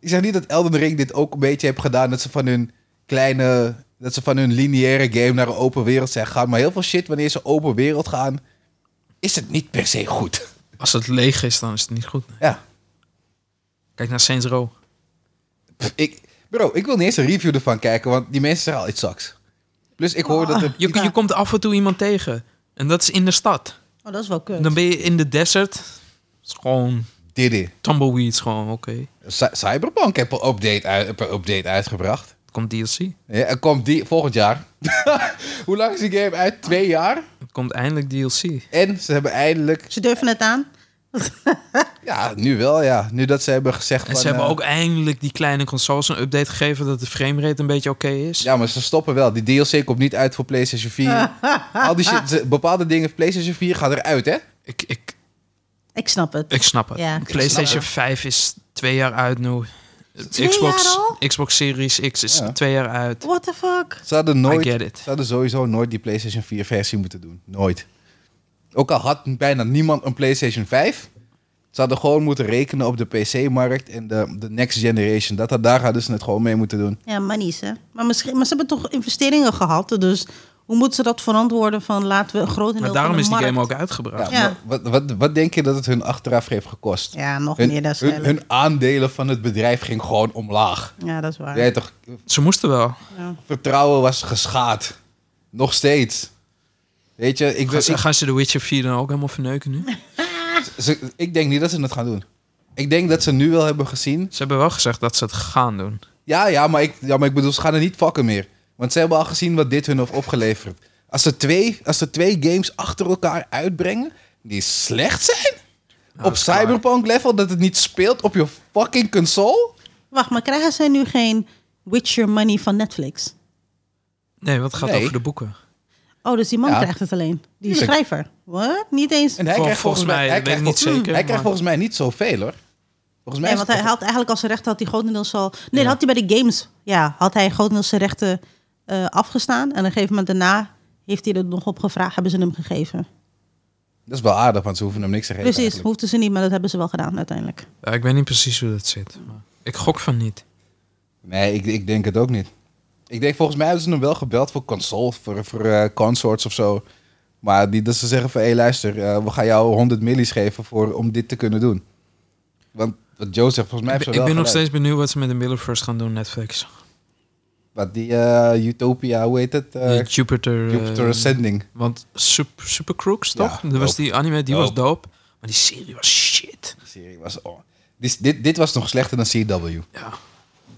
ik zeg niet dat Elden Ring dit ook een beetje heeft gedaan... dat ze van hun kleine... dat ze van hun lineaire game naar een open wereld zijn gegaan. Maar heel veel shit, wanneer ze open wereld gaan... is het niet per se goed.
Als het leeg is, dan is het niet goed.
Ja.
Kijk naar Saints Row.
Pff, Ik, bro, ik wil niet eens een review ervan kijken, want die mensen zeggen al, iets sucks. Plus, ik hoor dat... er-
Je, je komt af en toe iemand tegen. En dat is in de stad.
Oh, dat is wel kut.
Dan ben je in de desert. Het is gewoon
Diddy.
tumbleweeds, gewoon oké.
Cy- Cyberpunk heeft een update, uit, een update uitgebracht.
Er komt DLC.
Ja, er komt die volgend jaar. Hoe lang is die game uit? Twee jaar?
Er komt eindelijk DLC.
En ze hebben eindelijk...
Ze durven het aan.
Ja, nu wel, ja. Nu dat ze hebben gezegd
En
van,
ze hebben
eh,
ook eindelijk die kleine consoles een update gegeven dat de framerate een beetje oké is.
Ja, maar ze stoppen wel. Die DLC komt niet uit voor PlayStation 4. Al die shit, ze- bepaalde dingen van PlayStation 4 gaan eruit, hè?
Ik, ik,
Ik snap het.
ik snap het.
Ja.
PlayStation 5 is twee jaar uit nu.
twee
Xbox,
jaar al?
Xbox Series X is
Ja.
twee jaar uit.
What the fuck?
Ze hadden nooit...
I get it.
Ze hadden sowieso nooit die PlayStation 4 versie moeten doen. Nooit. Ook al had bijna niemand een PlayStation 5. Ze hadden gewoon moeten rekenen op de PC-markt en de, de next generation. Dat, had- daar hadden ze het gewoon mee moeten doen.
Ja, maar niet, hè. Maar, misschien, maar ze hebben toch investeringen gehad, dus hoe moeten ze dat verantwoorden van laten we een groot deel
Maar daarom
van
is
de
die game
markt-
ook uitgebracht.
Ja,
Ja.
maar Wat, wat, wat denk je dat het hun achteraf heeft gekost?
Ja, nog
hun,
meer, dat is
hun,
duidelijk.
hun aandelen van het bedrijf ging gewoon omlaag.
Ja, dat is waar.
Jij toch,
Ze moesten wel.
vertrouwen was geschaad. Nog steeds. Weet je, ik,
Gaan ze,
ik,
gaan ze de Witcher 4 dan ook helemaal verneuken nu?
ze- ik denk niet dat ze het gaan doen. Ik denk dat ze nu wel hebben gezien
Ze hebben wel gezegd dat ze het gaan doen.
Ja, ja maar, ik, ja, maar ik bedoel, ze gaan er niet fucken meer. Want ze hebben al gezien wat dit hun heeft opgeleverd. Als ze twee, als ze twee games achter elkaar uitbrengen die slecht zijn...
Nou, dat
op
is klaar.
Cyberpunk level, dat het niet speelt op je fucking console...
Wacht, maar krijgen zij nu geen Witcher money van Netflix?
Nee, want het gaat
Nee.
over de boeken.
Oh, dus die man
Ja.
krijgt het alleen. Die
Tuurlijk.
schrijver. Wat? Niet eens.
En hij
Vol-
krijgt
volgens mij,
hij
dat weet ik
krijgt
niet
vol-
zeker.
Hij krijgt
maar-
volgens mij niet zoveel hoor. Volgens mij
Nee,
is
want
het
hij had eigenlijk al zijn rechten, had hij grotendeels al... Nee, dat
Ja.
had hij bij de games. Ja, had hij grotendeels zijn rechten eh, afgestaan. En op een gegeven moment daarna heeft hij er nog op gevraagd. Hebben ze hem gegeven.
Dat is wel aardig, want ze hoeven hem niks te geven.
Precies,
eigenlijk.
hoefden ze niet, maar dat hebben ze wel gedaan uiteindelijk.
Ja, ik weet niet precies hoe dat zit. Maar ik gok van niet.
Nee, ik, ik denk het ook niet. Ik denk, volgens mij hebben ze hem wel gebeld voor console, voor, voor eh, consorts of zo. Maar die, dat ze zeggen van, hé luister, eh, we gaan jou 100 millies geven voor, om dit te kunnen doen. Want wat Joe zegt, volgens mij hebben
Ik, ben-
ze
ik
wel
ben nog
gelijk.
steeds benieuwd wat ze met de Millerverse gaan doen, Netflix.
Wat die eh, Utopia, hoe heet het? Eh,
Die Jupiter. eh,
Jupiter Ascending.
want Super, Super Crooks,
Ja,
toch? Er was
dope.
die anime, die was
Dope.
dope. Maar die serie was shit.
Die serie was... Oh. Dit, dit, dit was nog slechter dan CW.
Ja.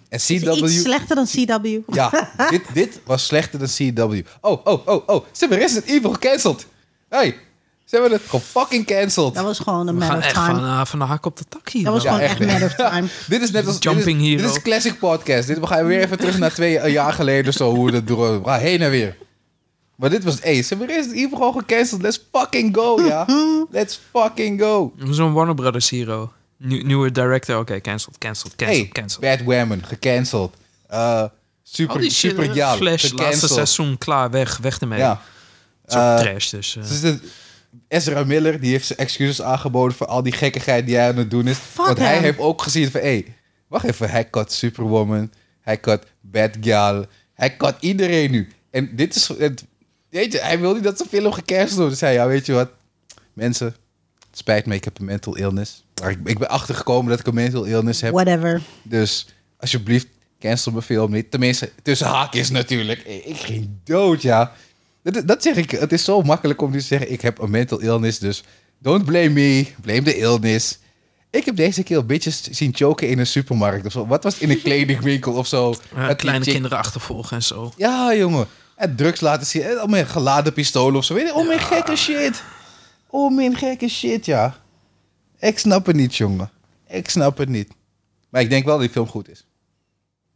En
Is hij iets
CW...
slechter dan CW.
Ja, dit, dit was slechter dan CW. Oh, oh, oh, oh. Ze hebben Resident Evil gecanceld. Hey, ze hebben het gefucking cancelled.
Dat was gewoon een
We
matter
gaan
of
echt
time.
van, eh, van de hak op de tak hier.
Dat was
wel.
gewoon
echt,
echt
hè?
matter of time.
Dit is net als
Jumping
dit is,
hero.
Dit is classic podcast. Dit, we gaan weer even terug naar twee eh, jaar geleden of zo. Hoe we dat door. We gaan heen en weer. Maar dit was het. Hey, ze hebben Resident Evil gewoon gecanceld. Let's fucking go, ja. Let's fucking go.
Zo'n Warner Brothers hero. Nieu- nieuwe director. Oké, cancelled, cancelled, cancelled,
Hey,
cancelled.
Bad Woman, gecanceld. Eh,
Al
super,
die shit,
super
eh,
Jaal,
Flash, laatste
gecanceld.
seizoen, klaar, weg, weg ermee.
Ja.
Zo'n
Eh,
trash, dus... eh,
Dus de- Ezra Miller die heeft zijn excuses aangeboden voor al die gekkigheid die hij aan het doen is. want hij
hem.
heeft ook gezien van, hé, hey, wacht even, hij cut Superwoman, hij cut Batgirl, hij cut iedereen nu. En dit is, het, weet je, hij wil niet dat zijn film gecanceld wordt. Dus hij, ja, weet je wat, mensen, het spijt me, ik heb een mental illness. Maar ik, ik ben achtergekomen dat ik een mental illness heb.
Whatever.
Dus alsjeblieft, cancel mijn film niet. Tenminste, tussen haakjes natuurlijk. Ik ik ging dood, ja. Dat, dat zeg ik. Het is zo makkelijk om nu te zeggen, ik heb een mental illness, dus don't blame me. Blame the illness. Ik heb deze keer al bitches zien choken in een supermarkt of zo. Wat was het, in een kledingwinkel of zo?
eh,
Dat die
kleine
chick-
kinderen achtervolgen en zo.
Ja, jongen. En drugs laten zien. En om een geladen pistolen of zo. Weet je, om een gekke shit. Om een gekke shit, ja. Ik snap het niet, jongen. Ik snap het niet. Maar ik denk wel dat die film goed is.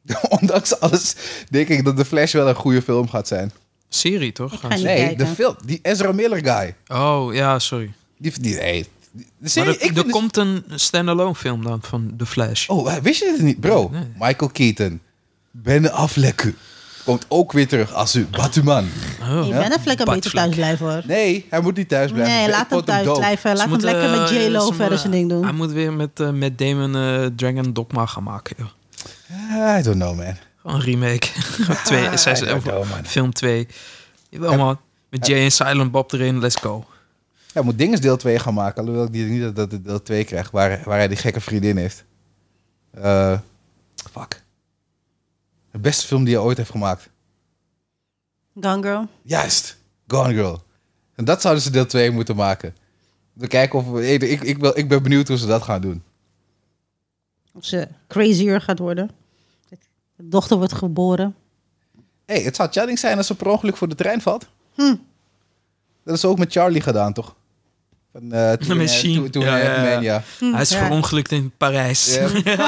Ondanks alles denk ik dat The Flash wel een goede film gaat zijn.
Serie, toch?
ga niet-
Nee,
kijken.
de film. Die Ezra Miller guy.
Oh, ja, sorry.
Die, die, nee. Die- de
Maar
serie-
er,
ik
er
vind de-
komt een standalone film dan van The Flash.
Oh, wist je dit niet? Bro,
Nee.
Michael Keaton. Ben Affleck. Komt ook weer terug als u Batman.
Oh.
Ik ben een vlek een
Bart
beetje
Vlek.
thuis blijven hoor.
Nee, hij moet niet thuis blijven.
Nee,
Ik
laat hem
vond
thuis
dope.
blijven.
Ze
Laat hem
moeten,
lekker met
eh,
J-Lo
ze
verder
moeten-
zijn ding doen.
Hij moet weer met, eh, met Damon eh, Dragon Dogma gaan maken. Joh.
I don't know, man.
Gewoon een remake. twee,
Ah,
zes,
I
of
don't know, man.
film 2. Jawel, man. Met Jay en Silent Bob erin, let's go.
Hij moet dinges deel 2 gaan maken. Alhoewel ik die- niet dat- dat hij deel 2 krijgt. Waar, waar hij die gekke vriendin heeft. Eh, fuck. De beste film die hij ooit heeft gemaakt.
Gone Girl.
Juist. Gone Girl. En dat zouden ze deel 2 moeten maken. We kijken of... we- Ik, ik, ik, wil, ik ben benieuwd hoe ze dat gaan doen.
Of ze crazier gaat worden. De dochter wordt geboren.
Hé, hey, het zou Channing zijn als ze per ongeluk voor de trein valt.
Hm.
Dat is ook met Charlie gedaan, toch? Van, eh toen,
Machine.
toen, toen,
Ja,
eh,
ja, ja.
Man, ja.
hij is
Hm, ja.
verongelukt in Parijs.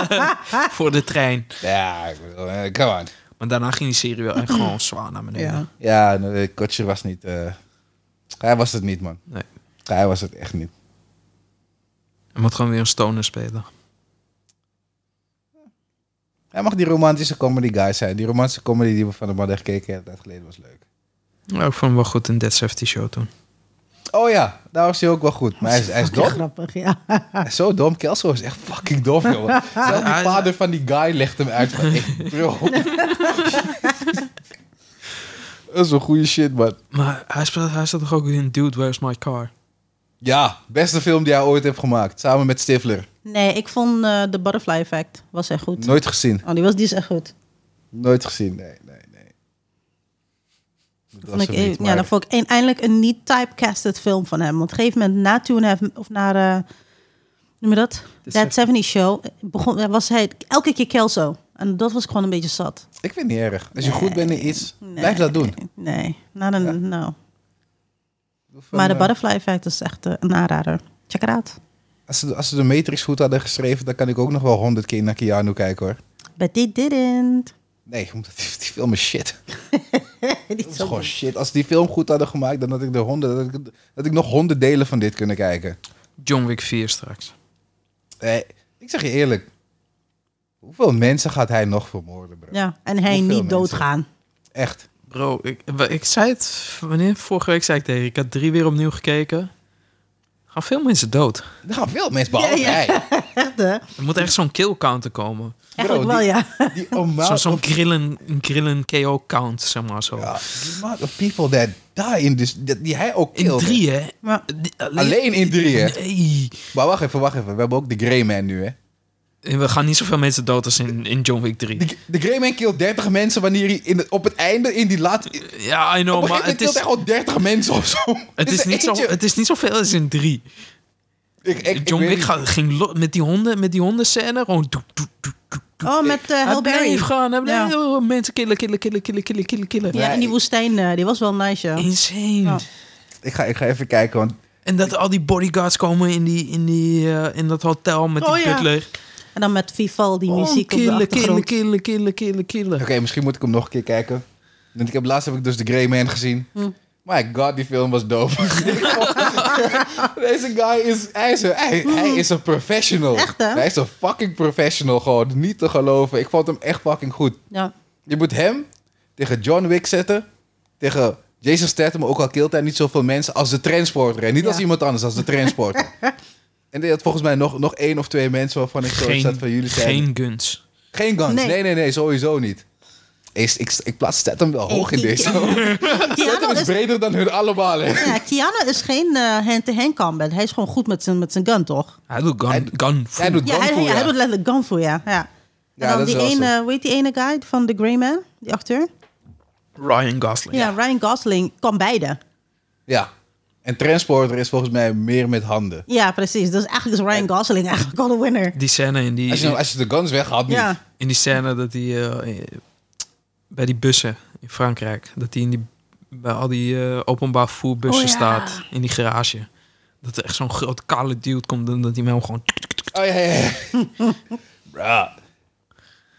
voor de trein.
Ja, ik bedoel, eh, come on.
Maar daarna ging die serie wel echt gewoon zwaar naar beneden.
Hm. Ja.
Ja, nee, Kotcher was niet. eh, hij was het niet, man.
Nee.
Hij was het echt niet.
Hij moet gewoon weer een stoner spelen.
Hij mag die romantische comedy guy zijn. Die romantische comedy die we van de man hebben gekeken een tijd geleden was leuk.
Ja, ik vond hem wel goed in Dead Safety Show toen.
Oh ja, daar was hij ook wel goed. Maar hij is, hij is
Fucking
dom.
grappig, ja.
Hij is zo dom. Kelso is echt fucking dom, jongen. Zelfs die
Hij-
vader van die guy legt hem uit. Van, hey, bro. Dat is een goede shit, man.
Maar hij, speelt, hij staat toch ook in Dude, Where's My Car?
Ja, beste film die hij ooit heeft gemaakt. Samen met Stifler.
Nee, ik vond eh The Butterfly Effect was echt goed.
Nooit gezien.
Oh, die, was, die is echt goed.
Nooit gezien. Nee, nee, nee. Dat
Dat
was
vond ik,
hem niet,
een- ja,
maar-
dan vond ik een- eindelijk een niet typecasted film van hem. Want op een gegeven moment na Two and a Half- of naar, eh noem je dat? That 70 Show, eh, begon, was hij elke keer Kelso. En dat was ik gewoon een beetje zat.
Ik vind het niet erg. Als je goed bent in iets,
Nee.
blijf dat doen.
Nee, not een, nou.
Of,
Maar de
eh,
Butterfly Effect is echt eh, een aanrader. Check it out.
Als ze, als ze de Matrix goed hadden geschreven, dan kan ik ook nog wel honderd keer naar Keanu kijken hoor.
But they didn't.
Nee, omdat die, die film is shit.
Die
Dat is
zal-
gewoon shit. Als ze die film goed hadden gemaakt, dan had ik, de honderd, dat ik, dat ik nog honderd delen van dit kunnen kijken.
John Wick 4 straks.
Nee, ik zeg je eerlijk. Hoeveel mensen gaat hij nog vermoorden, bro?
Ja, en hij
Hoeveel
niet
mensen?
doodgaan.
Echt.
Bro, ik, wa- ik zei het... Wanneer? Vorige week zei ik tegen je, Ik had drie weer opnieuw gekeken. Er Gaan veel mensen dood.
Er gaan veel mensen behalve
Ja, ja.
hij.
Echt, hè?
Er moet echt zo'n kill counter komen.
Bro,
Eigenlijk wel,
die-
ja.
Die
Zo-
amount,
Zo'n grillen, grillen KO count, zeg maar zo.
ja, the amount of people that die in this, dat- die hij ook
In
killed.
drie, hè?
Maar
Die-
Alleen in drie, hè?
Nee.
Maar wacht even, wacht even. We hebben ook de Grey Man nu, hè?
En We gaan niet zoveel mensen dood als in, in John Wick 3.
De, de Grey Man killt 30 mensen wanneer hij in het- op het einde in die laat...
Ja, I
op een gegeven
know, maar
moment
het
killt
is,
hij gewoon 30 mensen of zo.
het, is
er
niet zo,
eentje.
het is niet zoveel als in 3.
Ik- ik- ik
John
weet
Wick
niet.
ga- ging lo- met die honden, met die hondenscène gewoon... Doek, doek, doek, doek, doek.
Oh, met eh
Hij
Halle Berry.
bleef gaan, hij bleef-
Ja.
oh, mensen killen, killen, killen, killen, killen, killen, killen.
Ja, en die woestijn, eh, die was wel nice, ja.
Insane.
Ja.
Ik ga, ik ga even kijken, want
En dat al die bodyguards komen in, die, in, die, eh, in dat hotel met
Oh,
die
ja.
butler.
En dan met Vivaldi
Oh,
muziek op de
killen, killen,
achtergrond.
killen, killen, killen, killen.
Oké, misschien moet ik hem nog een keer kijken. Want ik heb, laatst heb ik dus The Grey Man gezien.
Hm.
My god, die film was dope. Deze guy is... Hij is, een,
Hm.
hij, hij is een professional.
Echt, hè?
Hij is een fucking professional gewoon. Niet te geloven. Ik vond hem echt fucking goed.
Ja.
Je moet hem tegen John Wick zetten. Tegen Jason Statham, ook al killt hij niet zoveel mensen, als de transporter. En niet
Ja.
als iemand anders, als de transporter. en die had volgens mij nog, nog één of twee mensen waarvan ik zo zat
Geen,
van jullie zijn...
geen guns.
Geen guns. Nee,
Nee.
nee, nee, sowieso niet. Is, ik, ik plaats Statham wel hoog
Eh,
in deze. Statham
Keanu
is
is,
breder dan hun allemaal. hè.
ja, Keanu is geen eh hand-to-hand combat. Hij is gewoon goed met zijn, met zijn gun, toch?
Hij doet gun,
Hij-
gun
Hij doet
Ja, hij,
gunful,
ja, hij
ja.
doet letterlijk gun voor, ja. ja. En
Ja,
dan
dat is
die
wel zo.
ene, weet die ene guy van The Grey Man, die acteur?
Ryan Gosling.
Ja, Ryan Gosling kan beide.
Ja. En Transporter is volgens mij meer met handen.
Ja, precies. Dus eigenlijk is Ryan Gosling eigenlijk al de winner.
Die scène in die,
Als je, nou- als je de guns weg had, niet.
Ja.
in die scène dat hij eh, bij die bussen in Frankrijk, dat hij in die bij al die eh, openbaar voerbussen
Oh ja.
staat in die garage. Dat er echt zo'n groot kale dude komt en dat hij hem gewoon
Oh, ja, ja, ja. Bruh.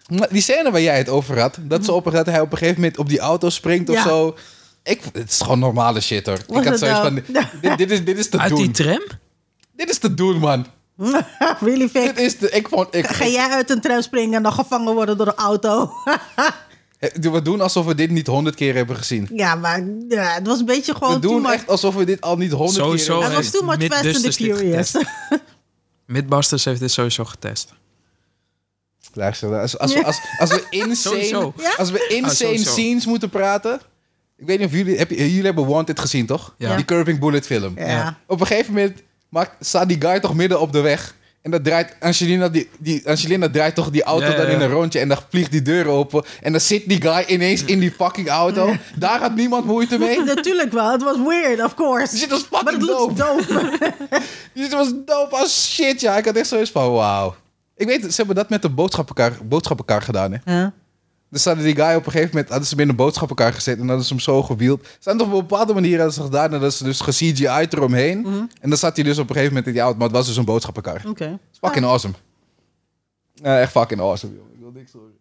Maar die scène waar jij het over had, dat, ze op, dat hij op een gegeven moment op die auto springt of
Mhm. Ja.
zo. Ik, het is gewoon normale shit hoor.
Was
ik had
het
zoiets
nou?
van, dit, dit, is, dit is te
uit die
doen.
tram.
Dit is te doen, man.
really
Dit
fake.
is de, ik vond, ik,
Ga jij uit een tram springen en dan gevangen worden door een auto?
Eh, We doen alsof we dit niet honderd keer hebben gezien.
ja, maar ja, het was een beetje gewoon
We
too
doen
much.
echt alsof we dit al niet honderd keer
Sowieso.
hebben
het was too much
Mid-
Fast and the
dus dit
Furious.
Midbusters heeft dit sowieso getest.
gezien. Luister, als, als, we- als, als we insane,
Sowieso. Ah,
Ja?
als we insane
sowieso.
scenes moeten praten... Ik weet niet of jullie... Heb, je- jullie hebben Wanted gezien, toch?
Ja.
Die Curving Bullet film.
Ja.
Ja.
Op een gegeven moment maakt, staat die guy toch midden op de weg... En dat draait Angelina, die, die, Angelina draait toch die auto
Ja, ja,
dan in
ja.
een rondje en dan vliegt die deur open. En dan zit die guy ineens in die fucking auto. Daar had niemand moeite mee.
Natuurlijk wel. Het was weird, of course.
Dit was
maar
fucking
het looks
dope.
dope.
Dit was dope als shit, ja. Ik had echt zoiets van, wauw. Ik weet, ze hebben dat met de boodschappenkar, boodschappenkar gedaan, hè.
ja.
Dus hadden die guy op een gegeven moment... hadden ze hem in een boodschappenkar gezet en hadden ze hem zo gewield. Ze hadden op een bepaalde manier hadden ze gedaan... en dat ze dus ge-CGI eromheen.
Mhm.
En dan zat hij dus op een gegeven moment in die auto... maar het was dus een boodschappenkar.
Oké.
It's fucking awesome. Ja, echt fucking awesome, joh. Ik wil niks horen.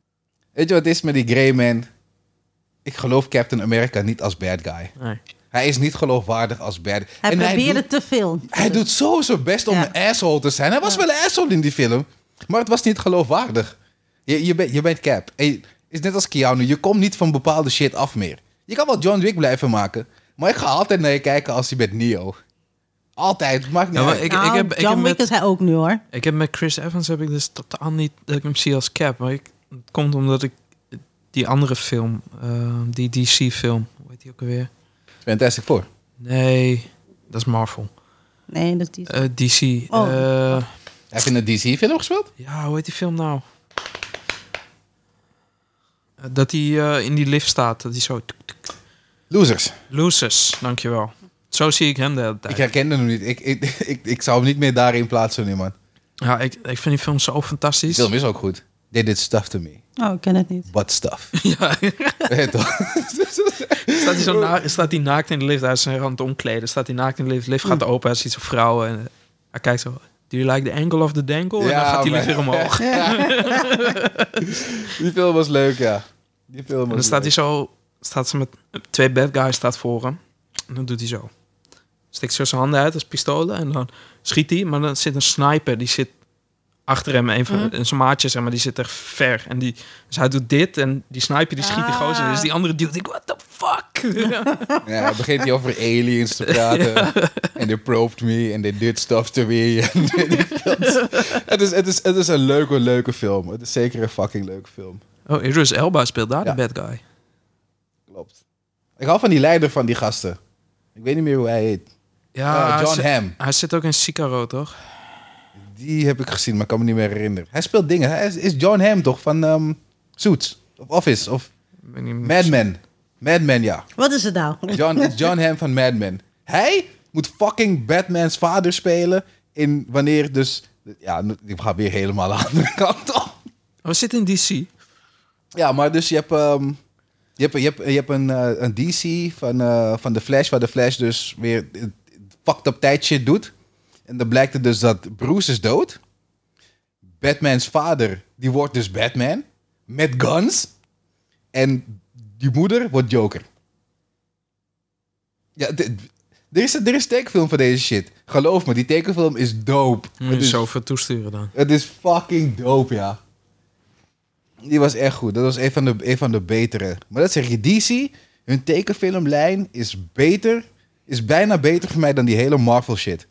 Weet je wat het is met die Grey Man? Ik geloof Captain America niet als bad guy.
Nee.
Hij is niet geloofwaardig als bad...
Hij
en
probeerde
doet-
te veel.
hij doet zo zijn best om
Ja.
een asshole te zijn. Hij was wel een asshole in die film. Maar het was niet geloofwaardig. Je, je, bent, je bent cap. En je- is net als Keanu. Je komt niet van bepaalde shit af meer. Je kan wel John Wick blijven maken. Maar ik ga altijd naar je kijken als hij met Neo. Altijd. Het Maakt niet
Ja, maar
uit.
ik,
Nou,
ik, heb, ik,
John
heb
Wick
met,
is hij ook nu hoor.
ik heb met Chris Evans heb ik dus totaal niet dat ik hem zie als cap. Maar ik, het komt omdat ik die andere film, eh, die DC film, hoe heet die ook alweer?
Fantastic Four.
Nee, dat is Marvel.
Nee, dat is...
Eh, DC.
Oh.
eh,
Heb je een DC-film gespeeld?
ja, hoe heet die film nou? Eh, dat hij eh, in die lift staat. Dat hij zo... tuk, tuk.
Losers.
Losers, dankjewel. Zo zie ik hem de hele tijd.
Ik herkende hem niet. Ik, ik, ik, ik zou hem niet meer daarin plaatsen nu, man.
ja, ik, ik vind die film zo
Die
fantastisch.
film is ook goed. They did stuff to me.
Oh, ik ken het niet.
What stuff?
Ja,
Weet je toch?
staat, hij zo na- staat hij naakt in de lift. Hij is zich aan het omkleden. Staat hij naakt in de lift. lift
Hmm.
gaat open. Hij ziet zo'n vrouw. En eh, hij kijkt zo... Do you like the angle of the dangle? en
Ja,
dan gaat hij
maar-
lift weer omhoog.
Die film was leuk, ja. Die film
En
was
dan staat hij
leuk.
zo, staat ze met twee bad guys staat voor hem. En dan doet hij zo. Steekt zo zijn handen uit als pistolen en dan schiet hij. Maar dan zit een sniper, die zit achter hem. Een van
Hmm.
Mhm.
en zijn maatje, zeg maar, die zit echt ver. En die, dus hij doet dit en die sniper, die schiet die
Ah.
gozer. Dus die andere dude, ik, what the fuck? Ja.
Ja, dan begint hij over aliens te praten. En they probed me en they did stuff to me. En dit en dat. het, is, het, is, het is een leuke, leuke film. Het is zeker een fucking leuke film.
Oh, Idris Elba speelt daar
Ja.
de bad guy.
Klopt. Ik hou van die leider van die gasten. Ik weet niet meer hoe hij heet.
Ja,
Eh,
hij
John
zit-
Hamm.
Hij zit ook in Sicaro, toch?
Die heb ik gezien, maar ik kan me niet meer herinneren. Hij speelt dingen. Hij is, is John Hamm toch van ehm Suits? Of Office? Of
Ik weet niet-
Mad Men? Mad Men, ja.
Wat is het nou?
John, het is John Hamm van Mad Men. Hij moet fucking Batman's vader spelen in wanneer dus... Ja, nu- ik ga weer helemaal aan de andere kant op.
Oh, hij zit in DC.
Ja, maar dus je hebt, ehm, je hebt, je hebt, je hebt een, eh, een DC van, eh, van de Flash, waar de Flash dus weer eh, fucked up tijd shit doet. En dan blijkt het dus dat Bruce is dood. Batman's vader, die wordt dus Batman. Met guns. En die moeder wordt Joker. Ja, d- d- er is, er is tekenfilm van deze shit. Geloof me, die tekenfilm is dope.
Moet
Het
je
dus-
is
zoveel toesturen dan.
het is fucking dope, ja. Die was echt goed. Dat was een van de, een van de betere. Maar dat zeg je, DC, hun tekenfilmlijn is beter. Is bijna beter voor mij dan die hele Marvel shit.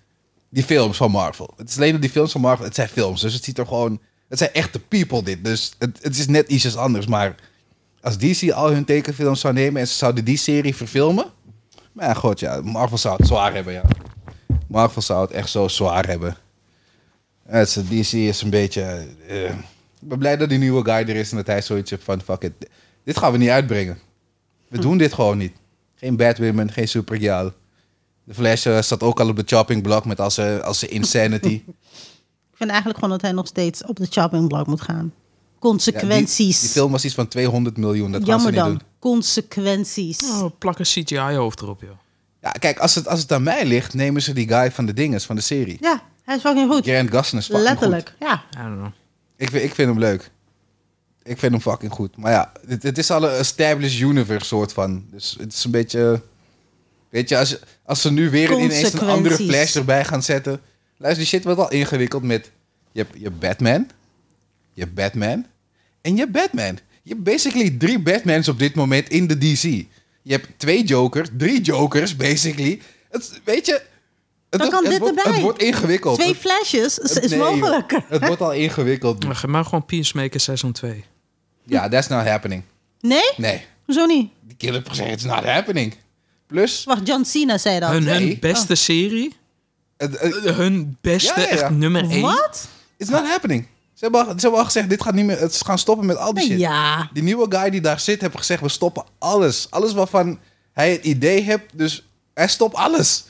Die films van Marvel. Het is alleen dat die films van Marvel, het zijn films. Dus het ziet er gewoon, het zijn echte people dit. Dus het, het is net ietsjes anders. Maar als DC al hun tekenfilms zou nemen en ze zouden die serie verfilmen. Maar ja, god ja, Marvel zou het zwaar hebben, ja. Marvel zou het echt zo zwaar hebben. Ja, Het is, DC is een beetje... eh, ik ben blij dat die nieuwe guy er is en dat hij zoiets heeft van... Fuck it, dit gaan we niet uitbrengen. We
Hm.
doen dit gewoon niet. Geen Batwoman, geen Supergirl. De Flash eh, zat ook al op de chopping block met al zijn al zijn insanity.
Ik vind eigenlijk gewoon dat hij nog steeds op de chopping block moet gaan.
Ja, die-
Consequenties.
die film was iets van 200 miljoen, dat gaan ze
Jammer
niet
dan.
doen.
Consequenties.
Oh, plak een CGI-hoofd erop, joh.
Ja, kijk, als het, als het aan mij ligt, nemen ze die guy van de dinges, van de serie.
Ja, hij is fucking goed.
Grant Gustin is fucking goed.
Letterlijk. Ja.
I don't know.
Ik, vind- ik vind hem leuk. Ik vind hem fucking goed. Maar ja, het, het is al een established universe soort van. Dus het is een beetje... Weet je, als, je- als ze nu weer ineens een andere
Consequenties.
Flash erbij gaan zetten... Luister, die shit wordt al ingewikkeld met... Je hebt, je hebt Batman. Je hebt Batman. En je hebt Batman. Je hebt basically drie Batmans op dit moment in de DC. Je hebt twee Jokers, drie Jokers, basically. Het, weet je... Het,
Dan
wordt-
kan
het
dit
wordt,
erbij.
Het wordt ingewikkeld.
Twee
Het-
flashes is,
het-
is
nee, joh.
mogelijk.
Het wordt al ingewikkeld.
Maar geef maar gewoon Peacemaker seizoen 2.
Ja, that's not happening.
Nee?
Nee,
Hoezo niet?
die killer percent is not happening. Plus,
Wacht, John Cena zei dat.
Hun,
Nee.
hun beste serie.
het- het-
eh, Hun beste,
Ja, ja, ja.
echt nummer 1.
Wat?
it's not happening. Ze hebben, al, ze hebben al gezegd, dit gaat niet meer, het- ze gaan stoppen met al die shit.
Ja.
Die nieuwe guy die daar zit, heeft gezegd, we stoppen alles. Alles waarvan hij het idee heeft, dus hij stopt alles.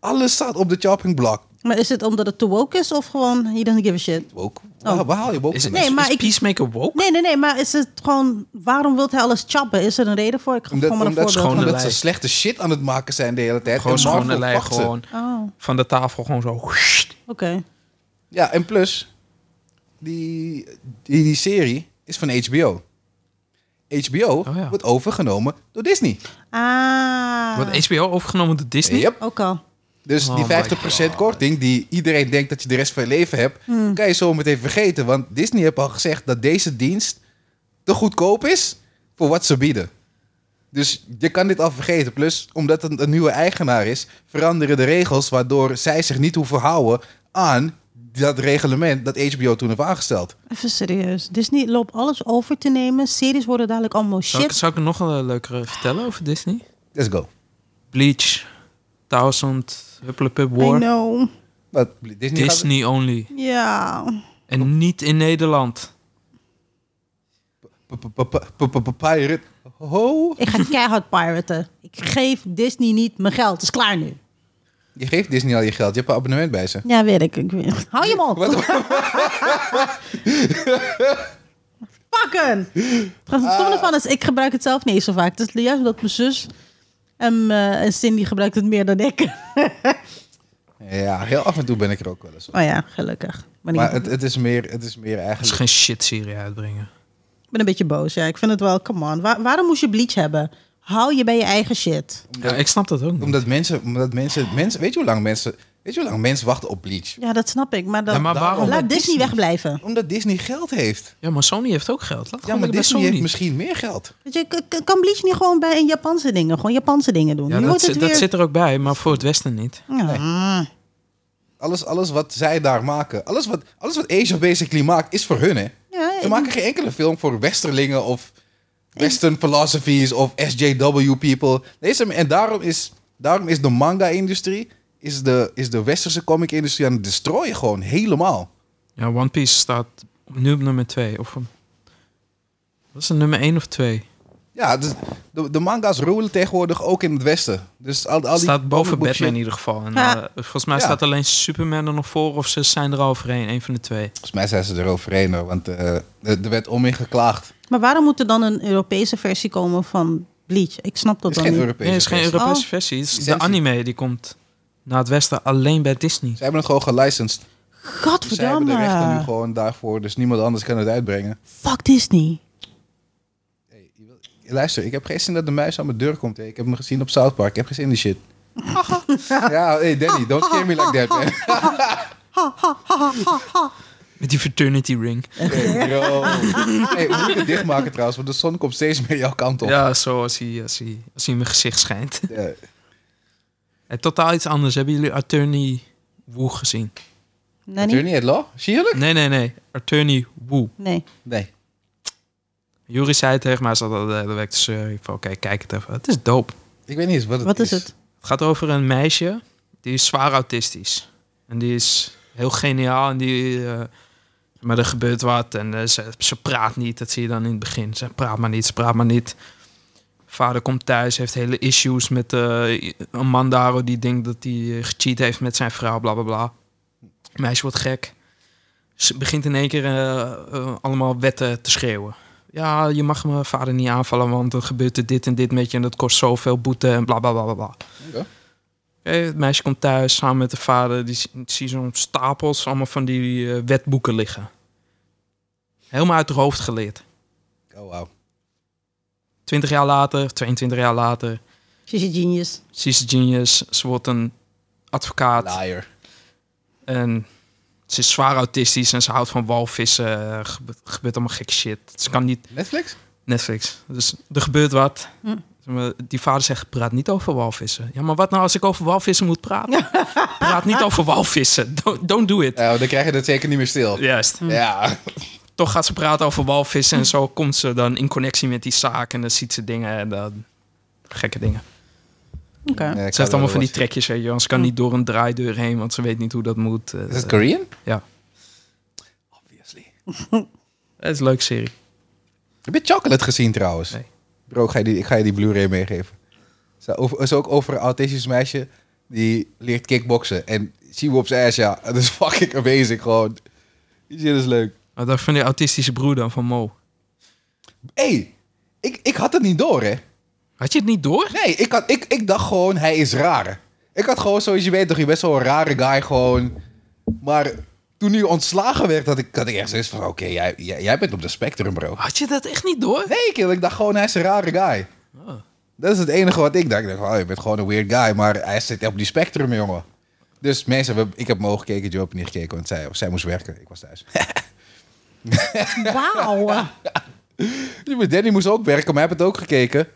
Alles staat op de chopping block.
Maar is het omdat het te woke is of gewoon he doesn't give a shit?
Woke.
Oh.
Waar, waar haal je woke
Is,
vandaan?
Nee,
nee,
maar
maar
ik-
Peacemaker woke?
Nee, nee, nee, maar is het gewoon, waarom wilt hij alles chappen? Is er een reden voor? Ik ga
Omdat,
gewoon maar een
omdat,
voorbeeld.
ze,
Schone
omdat ze
lijn.
slechte shit aan het maken zijn de hele tijd.
Gewoon
En Marvel
schone lijn,
fuckt ze.
gewoon
Oh,
van de tafel gewoon zo.
oké.
Ja, en plus, die, die, die serie is van HBO. HBO
Oh ja.
wordt overgenomen door Disney.
Ah.
Wordt HBO overgenomen door Disney?
Yep.
Ook al.
Dus
Hm? Oh
die
my
50% korting die iedereen denkt dat je de rest van je leven hebt,
Hm.
kan je zo meteen vergeten. Want Disney heeft al gezegd dat deze dienst te goedkoop is voor wat ze bieden. Dus je kan dit al vergeten. Plus, omdat het een nieuwe eigenaar is, veranderen de regels waardoor zij zich niet hoeven houden aan dat reglement dat HBO toen heeft aangesteld.
Even serieus. Disney loopt alles over te nemen. Series worden dadelijk allemaal
Zou, ik,
shit.
zou ik er nog een eh, leukere vertellen over Disney?
Let's go.
Bleach, Thousand, Hupplepup
I
War,
know.
Wat, Disney, gaat-
Disney only.
Ja.
En niet in Nederland.
P- p- p- p- p- p- Pirate. Ho!
Ik ga keihard piraten. Ik geef Disney niet mijn geld. Het is klaar nu.
Je geeft Disney al je geld. Je hebt een abonnement bij ze.
Ja, weet ik. ik weet- Hou je mond.
Wat?
Pakken. Het stomme ervan is, ik gebruik het zelf niet eens zo vaak. Het is juist omdat mijn zus en, eh, en Cindy gebruikt het meer dan ik.
Ja, heel af en toe ben ik er ook wel eens. op.
Oh ja, gelukkig. Maar, niet-
Maar het, het, is meer, het is meer
Als ze
eigenlijk...
geen shit-serie uitbrengen.
ben een beetje boos. Ja, ik vind het wel, come on. Waar- waarom moest je bleach hebben? Hou je bij je eigen shit.
Ja, ik snap dat ook niet.
Omdat mensen, omdat mensen, mensen, weet je hoe lang mensen, weet je hoe lang mensen wachten op Bleach?
Ja, dat snap ik. Maar, dat,
Ja, maar
daarom-
waarom
laat
bij
Disney wegblijven.
Omdat Disney geld heeft.
Ja, maar Sony heeft ook geld. Laat
Ja,
gewoon
maar
lekker bij
Disney heeft
Sony.
misschien meer geld.
Weet je, k- k- kan bleach niet gewoon bij een Japanse dingen? Gewoon Japanse dingen doen.
Ja,
nu
dat,
wordt het
zit- dat
weer...
zit er ook bij, maar voor het Westen niet.
Ja.
Alles, alles wat zij daar maken, alles wat, alles wat Asia basically maakt, is voor hun, hè?
Ja,
Ze
ik-
maken geen enkele film voor westerlingen of western philosophies of SJW people. Deze, en daarom is, daarom is de manga-industrie, is de, is de westerse comic-industrie aan het destroyen gewoon helemaal.
Ja, One Piece staat nu op nummer 2. Of... Dat is een nummer 1 of 2.
Ja, dus de, de manga's roelen tegenwoordig ook in het westen. Dus al, al die
Staat boven
comic book
Batman in
shit-
ieder geval. En,
Ja.
eh, volgens mij
Ja.
staat alleen Superman er nog voor of ze zijn er al overheen. Een van de twee.
Volgens mij zijn ze er overheen, hoor, want eh, er er werd om in geklaagd.
Maar waarom moet er dan een Europese versie komen van bleach? Ik snap
Er
dat
is
dan
geen
niet.
Europese
Nee, het is geen
versie.
Europese
Oh.
versie. Het is de
Licentie.
anime die komt naar het Westen alleen bij Disney.
Ze hebben het gewoon gelicensed. Dus zij hebben de rechten nu
Godverdamme.
gewoon daarvoor, dus niemand anders kan het uitbrengen.
Fuck Disney.
Luister, ik heb geen zin dat de muis aan mijn deur komt. hè. Ik heb hem gezien op South Park. Ik heb geen zin in die shit. ja, hey Danny, don't scare me like that, man.
Met die fraternity ring.
Hey, bro. Hey, we moeten het dichtmaken trouwens, want de zon komt steeds meer jouw kant op.
Ja, zo als hij, als, hij, als hij in mijn gezicht schijnt.
Eh,
En Eh, totaal iets anders. Hebben jullie Attorney Woo gezien?
Nanny?
Attorney at law? Sierlijk?
Nee, nee, nee. Attorney Woo.
Nee.
Nee.
Jury zei het tegen mij, ze eh, had al de hele week te zeuren. dus, Ik van, oké, kijk het even. Het is dope.
Ik weet niet eens wat het
Wat
is.
is het?
Het gaat over een meisje die is zwaar autistisch. En die is heel geniaal en die. eh, maar er gebeurt wat en eh, ze, ze praat niet. Dat zie je dan in het begin. Ze praat maar niet, ze praat maar niet. Vader komt thuis, heeft hele issues met eh, een man daar die denkt dat hij eh, gecheat heeft met zijn vrouw, bla bla bla. Het Meisje wordt gek. Ze begint in één keer eh, eh, allemaal wetten te schreeuwen. Ja, je mag mijn vader niet aanvallen, want er gebeurt er dit en dit met je en dat kost zoveel boete en bla bla bla bla. bla.
Oké.
Oké, het meisje komt thuis samen met de vader. Die zie- zie zo'n stapels allemaal van die eh, wetboeken liggen. Helemaal uit haar hoofd geleerd.
Oh, wauw.
20 jaar later, 22 jaar later,
She's a genius.
ze is een genius. Ze wordt een advocaat.
Liar.
En ze is zwaar autistisch en ze houdt van walvissen. Er gebe- gebeurt allemaal gek shit. Ze kan niet
Netflix?
Netflix. Dus er gebeurt wat.
Hm.
Zeg maar, Die vader zegt, praat niet over walvissen. Ja, maar wat nou als ik over walvissen moet praten? praat niet over walvissen. Don't, don't do it.
Eh, dan krijg je dat zeker niet meer stil.
Juist.
Ja.
toch gaat ze praten over walvissen en zo komt ze dan in connectie met die zaak en dan ziet ze dingen en dan gekke dingen.
Oké.
Nee, ik
ze heeft
hou
allemaal
er
van die
wel
trekjes, weet je, want ze kan niet door een draaideur heen, want ze weet niet hoe dat moet. Eh,
wat. Is het Korean?
ja,
Obviously.
het is een leuke serie.
Heb je Chocolate gezien trouwens?
Nee.
Bro, ik ga je die, ik ga je die Blu-ray meegeven. Het is over- het is ook over een autistisch meisje die leert kickboksen. En she whoops ass, ja. Het is fucking amazing gewoon. Die shit is leuk.
Maar dat van die autistische broer dan van Mo.
hey, ik, ik had het niet door, hè.
Had je het niet door?
Nee, ik, had, ik, ik dacht gewoon, hij is raar. Ik had gewoon, zoals je weet, toch, je bent zo'n rare guy gewoon. Maar toen hij ontslagen werd, had ik, had ik echt zoiets van... Oké, jij, jij, jij bent op de spectrum, bro.
Had je dat echt niet door?
Nee, kerel, ik dacht gewoon, hij is een rare guy.
Oh.
Dat is het enige wat ik dacht. Ik dacht, oh, je bent gewoon een weird guy, maar hij zit op die spectrum, jongen. Dus mensen, hebben- ik heb mogen gekeken, Joe heeft niet gekeken, want zij, zij moest werken. Ik was thuis.
Wauw.
Ja, maar Danny moest ook werken, maar hij heeft het ook gekeken.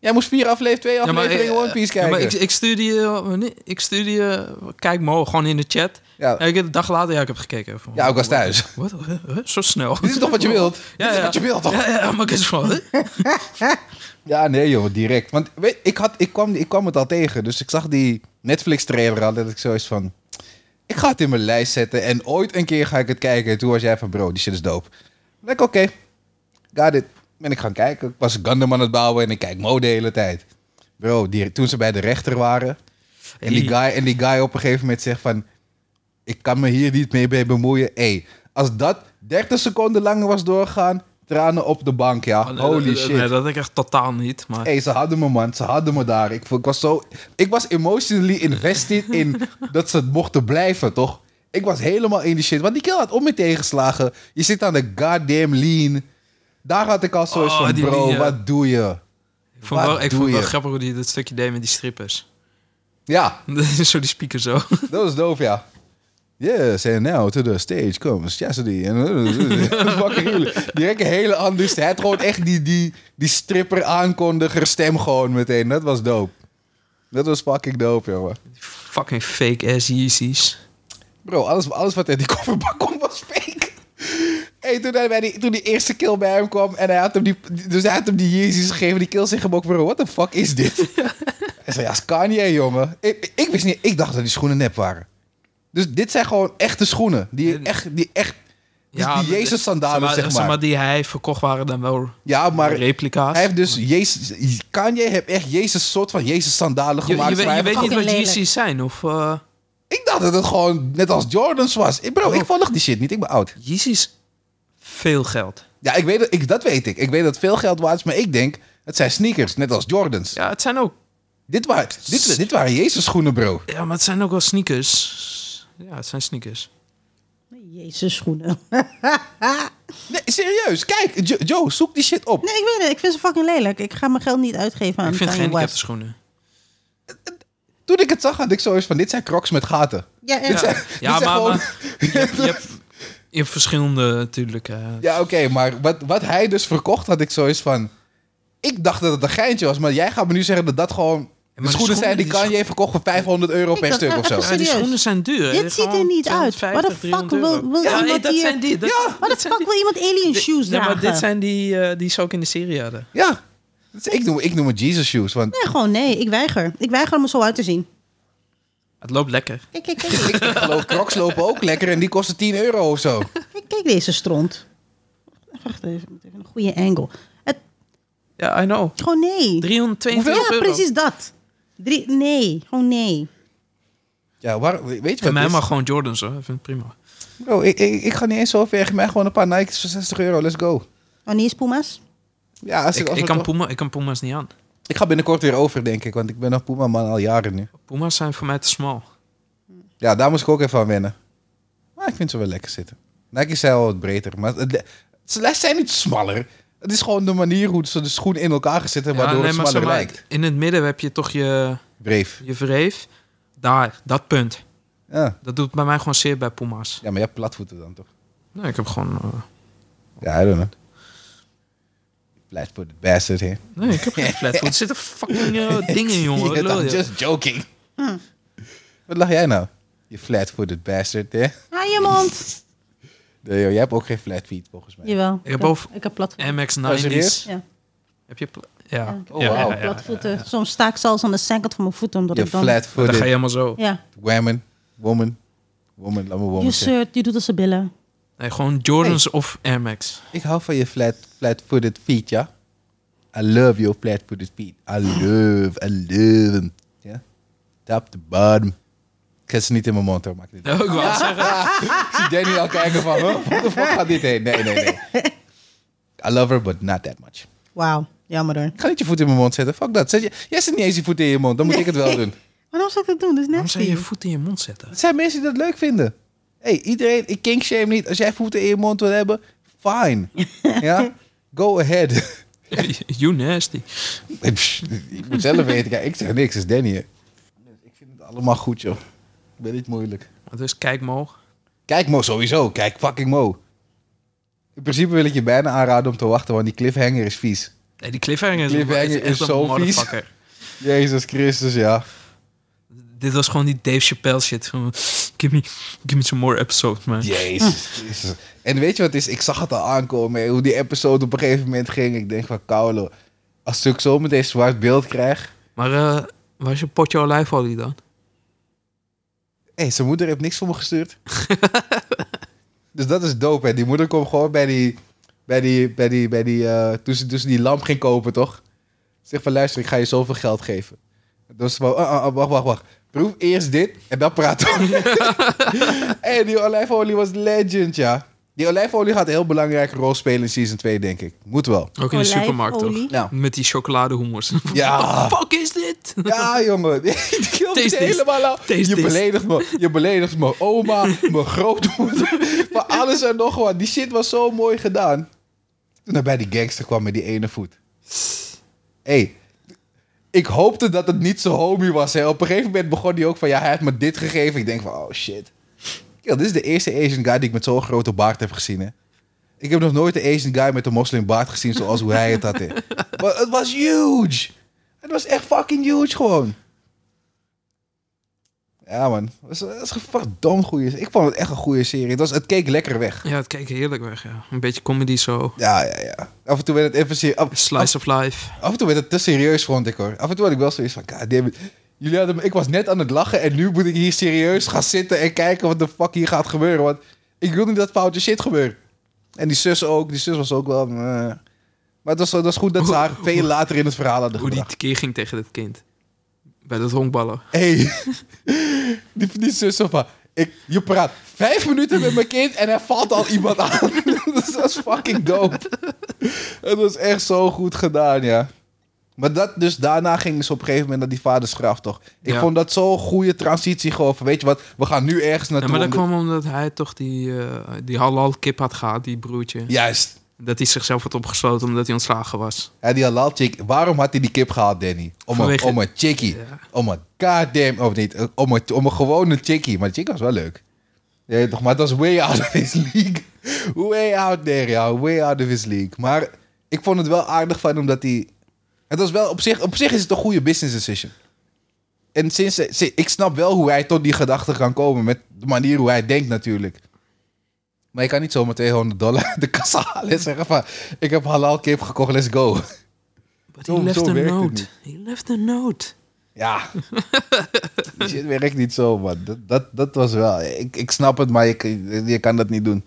Jij moest vier afleveringen, twee
Ja, maar,
afleveringen
eh,
One Piece
ja,
kijken.
maar
Ja,
ik, ik stuurde je, wanneer- ik stuurde je, kijk Mo, gewoon in de chat.
ja,
En ik heb een dag later, ja, ik heb gekeken. Van,
ik was thuis.
Wat? Huh? Huh? Zo snel.
Dit is toch wat je wilt?
Ja,
Dit is
ja.
wat je wilt, toch? Ja,
Ja, ja, maar ik is van, huh?
nee, joh, direct. Want weet, ik, had, ik, kwam, ik kwam het al tegen, dus ik zag die Netflix-trailer al, dat ik zoiets van... Ik ga het in mijn lijst zetten en ooit een keer ga ik het kijken. En toen was jij van, bro, die shit is dope. Dan ik, oké, ga dit. Ben ik gaan kijken. Ik was Gundam aan het bouwen en ik kijk mode de hele tijd. Bro, die, toen ze bij de rechter waren... En die, guy, en die guy op een gegeven moment zegt van... Ik kan me hier niet mee bij bemoeien. Hey, als dat 30 seconden langer was doorgaan... Tranen op de bank, ja.
Oh, nee,
Holy
nee,
shit.
nee, dat had ik echt totaal niet. Maar
Hey, ze hadden me, man. Ze hadden me daar. Ik, vo- ik was zo... Ik was emotionally invested in dat ze het mochten blijven, toch? Ik was helemaal in die shit. Want die kill had om me tegenslagen. Je zit aan de goddamn lean. Daar had ik al zoiets
Oh,
van,
die
bro,
linie.
wat doe je?
Ik vond, wel,
Wat
ik
doe
vond het wel
je?
grappig hoe die dat stukje deed met die strippers.
Ja,
zo die speaker zo.
dat was doof, ja. Yes, and now to the stage comes Chastity. En eh, dat is fucking gruwelijk. Direct een hele andere... Hij had gewoon echt die, die, die stripper aankondiger stem gewoon meteen. Dat was dope. Dat was fucking dope, jongen.
Die fucking fake ass Yeezys.
Bro, alles, alles wat uit die kofferbak kwam was fake. Hey, toen, hij bij die, toen die eerste kill bij hem kwam en hij had hem die, dus hij had hem die Jezus gegeven, die kill zeg hem ook, bro, what the fuck is dit? hij zei, ja, is Kanye, jongen. Ik, ik wist niet, ik dacht dat die schoenen nep waren. Dus dit zijn gewoon echte schoenen, die
Ja,
echt, die echt, dus
Ja,
die
maar-
Jezus sandalen zeg maar.
Die hij verkocht waren dan wel
Ja, maar
replica's.
hij heeft dus Jezus, Kanye heeft echt Jezus soort van Jezus sandalen
je,
gemaakt.
je, weet-
maar
je
hij
weet
heeft
niet
Fucking
wat
lelijk.
Yeezys zijn of... eh
gewoon- Ik dacht dat het gewoon net als Jordans was. Ik- Bro, ik
Oh.
volg die shit niet, ik ben oud.
Yeezys, veel geld.
Ja, ik weet, dat- ik, dat weet ik. Ik weet dat het veel geld waard is, maar ik denk, het zijn sneakers, net als Jordans.
Ja, het zijn ook...
Dit, waren, dit, dit waren Jezus schoenen, bro.
Ja, maar het zijn ook wel sneakers. Ja, het zijn sneakers.
Jezus, schoenen.
Nee, serieus. Kijk, Jo- Joe, zoek die shit op.
Nee, ik weet het. Ik vind ze fucking lelijk. Ik ga mijn geld niet uitgeven
Ah,
aan
ik vind
Kanye
gehandicapte
West.
schoenen.
Toen ik het zag, had ik zoiets van, dit zijn crocs met gaten.
Ja,
Dit
echt.
zijn,
Ja,
dit zijn
maar-
gewoon-
Je hebt, je hebt, je hebt verschillende natuurlijk. eh,
Ja, oké, maar wat, wat hij dus verkocht, had ik zoiets van... Ik dacht dat het een geintje was, maar jij gaat me nu zeggen dat dat gewoon... De
maar de
schoenen, zijn die
schoenen- die
Kanye heeft verkocht voor 500 euro
Ik
per
dacht,
stuk of zo.
even
Ja, die
Serieus?
schoenen zijn duur. hè.
Dit ziet er
Gewoon
niet uit. What the
250,
fuck
300
wil,
euro.
wil
Ja, nee,
iemand
dat
hier...
zijn die. Dat,
Ja,
What the
dat zijn
fuck wil iemand alien
Dit- nee,
shoes dragen?
maar dit zijn die, eh, die ze ook in de serie hadden.
Ja, Dus ik noem, ik noem het Jesus shoes, want...
Nee, gewoon nee. Ik weiger. Ik weiger om er zo uit te zien.
Het loopt lekker.
Kijk, kijk, kijk.
Ik geloof, crocs lopen ook lekker en die kosten 10 euro of zo.
Kijk, kijk deze stront. Wacht even, moet even een goede angle. Het,
Ja, I know.
gewoon nee.
322
ja,
euro.
precies dat. Drie, nee, gewoon nee.
Ja, waar, weet je
Voor
wat het
mij
is?
mag gewoon Jordans hoor. Ik vind het prima.
Bro, ik, ik, ik ga niet eens zo ver. Geef mij gewoon een paar Nike's voor 60 euro. Let's go.
Oh, nee, is Puma's?
Ja, als ik,
Ik,
als
ik,
we
kan
toch-
Puma, ik kan Puma's niet aan.
ik ga binnenkort weer over, denk ik. Want ik ben een Puma-man al jaren nu.
Puma's zijn voor mij te smal.
Ja, daar moest ik ook even aan wennen. Maar ik vind ze wel lekker zitten. Nike's zijn wel wat breder. Maar het- ze zijn niet smaller. Het is gewoon de manier hoe ze de schoen in elkaar gezet hebben,
Ja,
waardoor
nee,
het
maar
smaller
zeg maar,
lijkt.
In het midden heb je toch je,
Breef.
je wreef. Daar, dat punt.
Ja.
Dat doet bij mij gewoon zeer bij Puma's.
ja, maar je hebt platvoeten dan toch?
Nee, ik heb gewoon... eh,
Ja, I don't know. Blijft voor de bastard, hè?
nee, ik heb geen flatfoot. Er zitten fucking eh, dingen, jongen.
Ja,
Lul,
I'm
joh.
just joking.
Hm.
Wat lach jij nou? Je flat-footed bastard, hè?
Ah, je mond.
Nee, joh, jij hebt ook geen flat feet, volgens mij.
Jawel.
Ik heb boven-
Ik heb plat.
Oh,
MX-90's.
serieus?
Ja.
Heb je... pla- Ja.
Oh,
ja,
wauw.
ja, ja, ja.
Platvoeten. Soms sta ik zelfs aan de zijkant van mijn voeten omdat
Je
ik dan...
Maar Dan ga je
flat-footed
helemaal zo.
Ja.
woman. Woman. Woman, laat me
Je
woman zeggen.
shirt, je doet als ze billen.
Nee, gewoon Jordans of Air Max.
Ik hou van je flat, flat-footed feet, ja? I love your flat-footed feet. I love, I love them. Ja? Top to bottom. Ik zet ze niet in mijn mond, hoor. Maak dit.
Ja, ik wou zeggen.
Ik zie Danny al kijken van, huh? Wat de fuck gaat dit heen? Nee, nee, nee. I love her, but not that much.
Wauw. Jammer hoor.
Ik ga niet je voet in mijn mond zetten. Fuck dat. Zet je, jij zet niet eens je voet in je mond. Dan moet ik het wel doen.
Waarom zou ik dat doen? dus Dat is
Waarom zou je
nasty.
je voet in je mond zetten?
Het zijn mensen die dat leuk vinden. hey, iedereen, ik kink shame niet. Als jij voeten in je mond wil hebben, fine. ja? Go ahead.
you nasty.
Psst, ik moet zelf weten. Kijk, ik zeg niks, het is Danny. hè. Ik vind het allemaal goed, joh. Ik ben niet moeilijk.
Dus kijk Mo.
Kijk Mo sowieso. Kijk fucking Mo. In principe wil ik je bijna aanraden om te wachten, want die cliffhanger is vies.
Nee, die cliffhanger is,
Cliffhanger
echt
is
een
zo vies.
motherfucker.
Jezus Christus, ja.
Dit was gewoon die Dave Chappelle shit. Gewoon, Give me, give me some more episodes, man.
Jezus, Jezus. En weet je wat het is? Ik zag het al aankomen. hè, Hoe die episode op een gegeven moment ging. Ik denk van, Kaulo, als ik zo meteen zwart beeld krijg...
Maar eh waar is je potje olijfolie dan?
Hé, zijn moeder heeft niks voor me gestuurd. dus dat is dope, hè. Die moeder kwam gewoon bij die... Bij die, bij die, bij die eh, toen, ze, toen ze die lamp ging kopen, toch? Zeg van, luister, ik ga je zoveel geld geven. Dus van, ah, ah, ah, wacht, wacht, wacht. Proef eerst dit en dan praten we. Hé, die olijfolie was legend, ja. Die olijfolie gaat een heel belangrijke rol spelen in season 2, denk ik. Moet wel.
Ook in de supermarkt, toch?
Olijfolie.
Ja,
Met die chocoladehoemers.
ja,
Fuck is dit?
ja jongen. Die hield
Taste
het
test.
helemaal af.
Taste
nou? Je
test.
beledigt me. Je beledigt mijn oma, mijn grootmoeder. Maar alles en nog wat. Die shit was zo mooi gedaan. Toen hij bij die gangster kwam met die ene voet. hey, ik hoopte dat het niet zo homie was. Hè. Op een gegeven moment begon hij ook van, ja, hij heeft me dit gegeven. Ik denk van, oh shit. Kill, dit is de eerste Asian guy die ik met zo'n grote baard heb gezien, hè. Ik heb nog nooit een Asian guy met een moslimbaard gezien zoals hoe hij het had. hè. Maar het was huge. Het was echt fucking huge gewoon. Ja man, het was, het was een verdomd goede Ik vond het echt een goede serie. Het, was, het keek lekker weg.
Ja, het keek heerlijk weg, ja. Een beetje comedy zo.
Ja, ja, ja. Af en toe werd het even serie- af,
Slice of life.
af en toe werd het te serieus, vond ik hoor. Af en toe had ik wel zoiets van, god damn it. Jullie hadden me, ik was net aan het lachen en nu moet ik hier serieus gaan zitten en kijken wat de fuck hier gaat gebeuren. Want ik wil niet dat foutje shit gebeurt. En die zus ook, die zus was ook wel... eh. Maar het was, het was goed dat ze haar veel later in het verhaal hadden
Hoe die
gebracht.
tekeer ging tegen dat kind. Bij dat honkballen.
hey, die, die zus zo van, ik, je praat vijf minuten met mijn kind en er valt al iemand aan. dat was fucking dope. Het was echt zo goed gedaan, ja. Maar dat dus daarna ging dus op een gegeven moment naar die vaderschap toch. Ik
Ja.
vond dat zo'n goede transitie gewoon van, weet je wat, we gaan nu ergens
Ja,
naartoe.
maar dat
om de-
kwam omdat hij toch die, eh, die halal kip had gehad, die broertje.
Juist.
Dat hij zichzelf had opgesloten omdat hij ontslagen was.
Ja, die halal chick. Waarom had hij die kip gehaald, Danny? Om een,
Vanwege-
om een chickie.
Ja.
Om een goddamn... Of niet, eh, om een, om een gewone chickie. Maar de chickie was wel leuk. Ja, toch, maar dat was way out of his league. Way out there, ja. Way out of his league. Maar ik vond het wel aardig van hem dat hij... Het was wel... Op zich, op zich is het een goede business decision. En sinds... si- Ik snap wel hoe hij tot die gedachten kan komen. Met de manier hoe hij denkt natuurlijk. Maar je kan niet zomaar 200 dollar uit de kassa halen en zeggen van... Ik heb halal kip gekocht, let's go.
But
Oh, Zo-
he left
zo
a
werkt het
note.
niet.
He left a note.
Ja. Die shit werkt niet zo, man. Dat, dat, dat was wel... Ik, ik snap het, maar je, kan- je kan dat niet doen.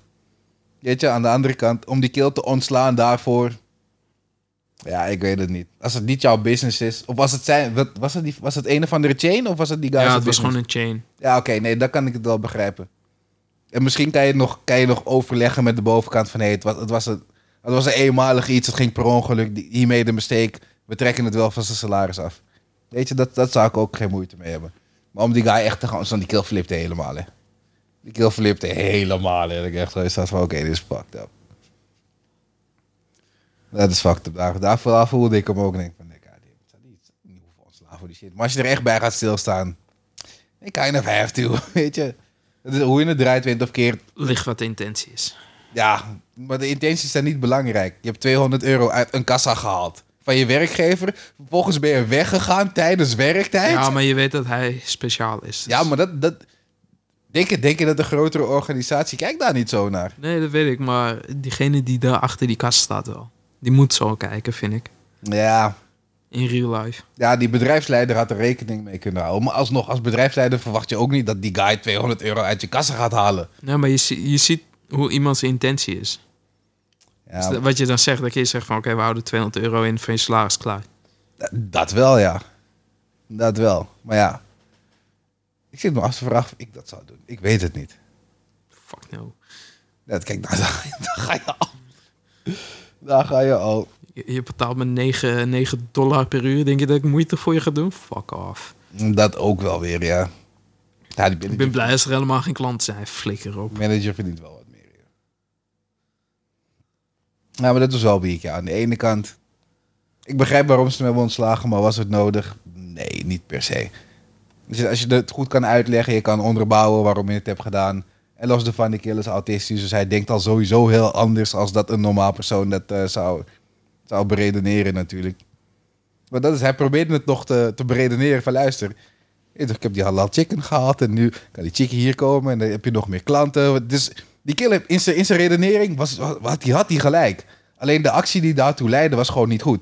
Weet je, aan de andere kant, om die keel te ontslaan daarvoor... Ja, ik weet het niet. Als het niet jouw business is... Of was het zijn... Wat, was, het die, was het een of andere chain? Of was het die guy?
Ja,
zijn
het was
business?
gewoon een chain.
Ja, oké. nee, dan kan ik het wel begrijpen. En misschien kan je nog, kan je nog overleggen met de bovenkant van... Hey, het, was, het, was een, het was een eenmalig iets. Het ging per ongeluk. die- Hiermee de mistake. We trekken het wel van zijn salaris af. Weet je, dat, dat zou ik ook geen moeite mee hebben. Maar om die guy echt te gaan... Zo, die kill flipte helemaal, hè. Die kill flipte helemaal, hè. Dat ik echt zo zat van... Oké, dit is fucked up. Dat is fucked up. Daar, daarvoor voelde ik hem ook. En denk van... Nee, god, dit zou niet niet hoeven ontslaan voor die shit. Maar als je er echt bij gaat stilstaan... Ik kind of have to, weet je. Dat is Hoe je het draait, wint of keert.
Ligt wat de intentie is.
Ja, maar de intenties zijn niet belangrijk. Je hebt 200 euro uit een kassa gehaald. Van je werkgever. Vervolgens ben je weggegaan tijdens werktijd.
Ja, maar je weet dat hij speciaal is.
Ja, maar dat... dat denk, je, denk je dat een grotere organisatie... Kijk daar niet zo naar.
Nee, dat weet ik. Maar diegene die daar achter die kast staat wel. Die moet zo kijken, vind ik.
Ja,
In real life.
ja, die bedrijfsleider had er rekening mee kunnen houden. Maar alsnog, als bedrijfsleider verwacht je ook niet... dat die guy 200 euro uit je kassa gaat halen.
Nee, maar je, zie- je ziet hoe iemand zijn intentie is. Dus
Ja,
dat- wat je dan zegt, dat je zegt van... Oké, we houden 200 euro in van je salaris klaar.
Da- Dat wel, ja. Dat wel. Maar ja. Ik zit me af te vragen of ik dat zou doen. Ik weet het niet.
Fuck no.
Dat, kijk, daar, daar ga je al. Daar ga je al.
Je, je betaalt me 9, 9 dollar per uur. Denk je dat ik moeite voor je ga doen? Fuck off.
Dat ook wel weer, ja. ja die
Ik
manager,
ben blij als er helemaal geen klanten zijn. Flikker op.
manager verdient wel wat meer. Ja. Nou, maar dat was wel week, ja. Aan de ene kant. Ik begrijp waarom ze me hebben ontslagen, maar was het nodig? Nee, niet per se. Dus als je het goed kan uitleggen, je kan onderbouwen waarom je het hebt gedaan. En los daarvan, die kill is autistisch, dus hij denkt al sowieso heel anders als dat een normaal persoon dat eh, zou, zou beredeneren natuurlijk. Maar dat is, hij probeerde het nog te, te beredeneren van luister, ik heb die halal chicken gehaald en nu kan die chicken hier komen en dan heb je nog meer klanten. Dus die kill heeft- in zijn, in zijn redenering was, wat, die had hij gelijk. Alleen de actie die daartoe leidde was gewoon niet goed.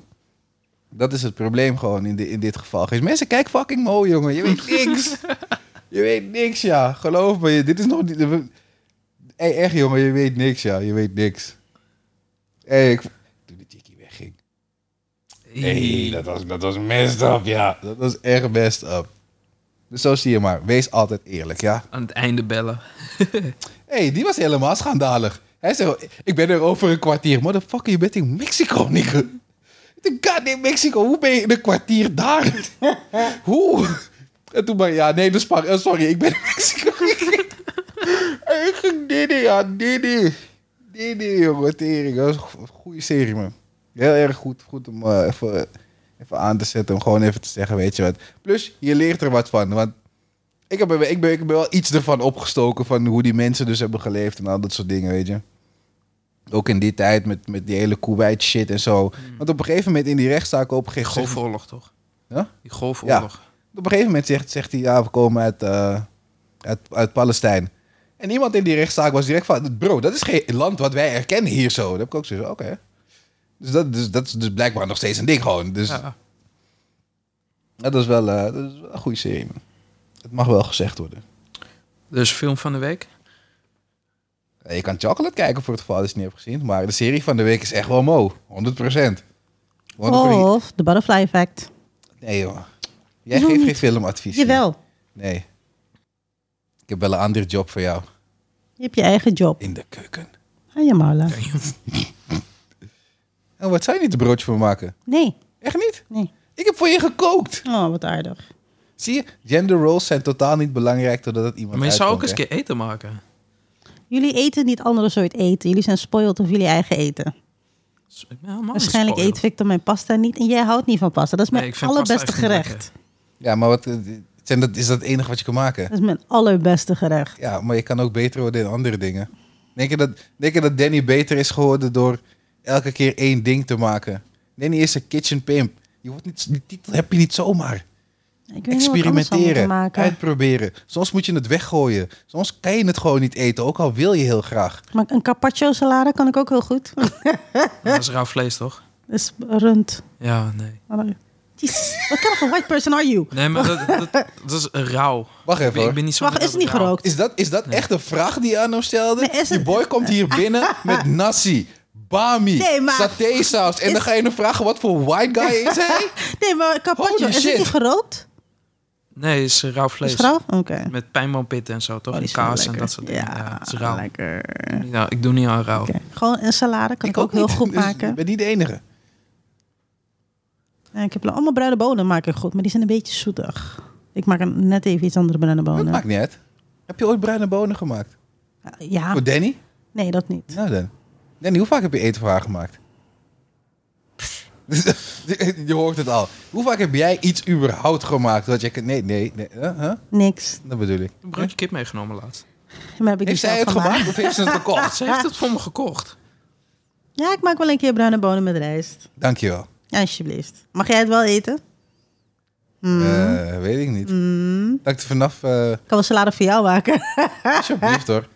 Dat is het probleem gewoon in, di- in dit geval. Gees, mensen, kijk fucking mooi, jongen. Je weet niks. je weet niks, ja. Geloof me, je- dit is nog niet... we- Hey, echt, jongen, je weet niks, ja. Je weet niks. Hey, ik... Toen de chickie wegging. Hey, dat was, dat was messed up, ja. Dat was echt messed up. Dus zo zie je maar. Wees altijd eerlijk, ja.
Aan het einde bellen.
hey, die was helemaal schandalig. Hij zegt, ik ben er over een kwartier. Motherfucker, je bent in Mexico, nigga. De goddamn Mexico, hoe ben je in een kwartier daar? hoe? En toen maar, ja, nee, dus maar, eh, sorry, ik ben in Mexico. ik ging, Didi, ja, Didi. Nee, nee, jongen, tering. Dat was een go- goede serie, man. Heel erg goed, goed om eh, even, even aan te zetten. Om gewoon even te zeggen, weet je wat. Plus, je leert er wat van. Want ik, heb, er- ik, ben, ik ben wel iets ervan opgestoken van hoe die mensen dus hebben geleefd en al dat soort dingen, weet je. Ook in die tijd met, met die hele Kuwait shit en zo. Want op een gegeven moment in die rechtszaak op een
Die
gegeven moment...
golfoorlog, toch?
Ja?
Die golfoorlog.
Op een gegeven moment zegt, zegt hij, ja, we komen uit, eh, uit, uit Palestijn. En iemand in die rechtszaak was direct van, bro, dat is geen land wat wij erkennen hier zo. Dat heb ik ook zo, oké. Dus, dat, dus dat is dus blijkbaar nog steeds een ding gewoon. Dus
Ja.
dat, is wel, eh, dat is wel een goede serie. man. Het mag wel gezegd worden.
Dus film van de week.
Eh, Je kan Chocolate kijken voor het geval dat je het niet hebt gezien. Maar de serie van de week is echt wel mo. 100 procent.
Of The Butterfly Effect.
Nee joh. Jij
Hoezo
geeft geen
niet?
filmadvies. hè?
Jawel,
Nee. Ik heb wel een andere job voor jou.
je hebt je eigen job. Ah,
In de keuken.
Ga je mouwen.
En Nou, wat zou je niet een broodje voor maken?
Nee,
Echt niet?
nee.
Ik heb voor je gekookt.
Oh, wat aardig.
Zie je, gender roles zijn totaal niet belangrijk totdat het iemand
Maar je zou ook eens
uitkomt,
een keer eten maken.
Jullie eten niet andere soort eten. Jullie zijn spoiled over jullie eigen eten.
Dus ik ben helemaal niet
Waarschijnlijk
spoiler.
eet Victor mijn pasta niet en jij houdt niet van pasta. Dat is
Nee,
mijn
ik vind
allerbeste
pasta echt niet
gerecht.
hè? Ja, maar wat, eh, zijn dat, is dat het enige wat je kan maken?
Dat is mijn allerbeste gerecht.
Ja, maar je kan ook beter worden in andere dingen. Denk je dat, denk je dat Danny beter is geworden door elke keer één ding te maken? Danny is een kitchen pimp. Je wordt niet, die titel heb je niet zomaar.
Ik weet niet wat anders zou moeten
Experimenteren,
maken.
uitproberen. Soms moet je het weggooien. Soms kan je het gewoon niet eten, ook al wil je heel graag.
Maar een carpaccio salade kan ik ook heel goed.
Maar Dat is rauw vlees, toch?
Dat is rund.
Ja, nee.
Jezus, what kind of a white person are you?
Nee, maar dat, dat, dat is rauw.
Wacht
Ik
even
ben, ik nou
hoor.
ben niet zo
Wacht,
goed
is het
over
niet
rauw.
gerookt?
Is dat, is dat echt een vraag die je aan hem stelde?
Nee, is
Die
het-
boy komt hier binnen met nasi, bami,
Nee, maar-
satésaus. En dan
Is-
ga je hem vragen wat voor white guy is hij?
Nee, maar carpaccio,
Holy
is het
shit.
niet gerookt?
Nee, het is rauw
Is
vlees.
het rauw? Oké.
Met pijnboompitten en zo, toch?
Oh, die
en
is wel
kaas en
lekker.
dat soort dingen. Ja, het is
Ja,
rauw.
lekker.
Nou, ik doe niet aan rauw.
Oké. Gewoon een salade kan ik, ook, heel
niet.
goed
Dus
maken. Oh,
Ik ben niet de enige.
Ja, ik heb allemaal bruine bonen maak ik goed, maar die zijn een beetje zoetig. Ik maak een, net even iets andere bruine
Dat
bonen.
maakt niet uit. Heb je ooit bruine bonen gemaakt?
Ja,
Voor Danny?
nee, dat niet.
Nou dan. Danny, hoe vaak heb je eten voor haar gemaakt? je je hoort het al. Hoe vaak heb jij iets überhaupt gemaakt? Dat je, kan- nee, nee, nee. huh, huh?
Niks.
Dat bedoel ik.
Een broodje kip meegenomen laatst.
Maar heb ik
Heeft
niet
zij
zelf
het
gemaakt.
gemaakt of heeft ze het gekocht?
Ze heeft het voor me gekocht.
Ja, ik maak wel een keer bruine bonen met rijst.
Dankjewel.
Alsjeblieft. Mag jij het wel eten? Mm.
Eh, weet ik niet.
Mm.
Dat ik er vanaf... eh,
Ik kan wel salade voor jou maken.
Alsjeblieft hoor.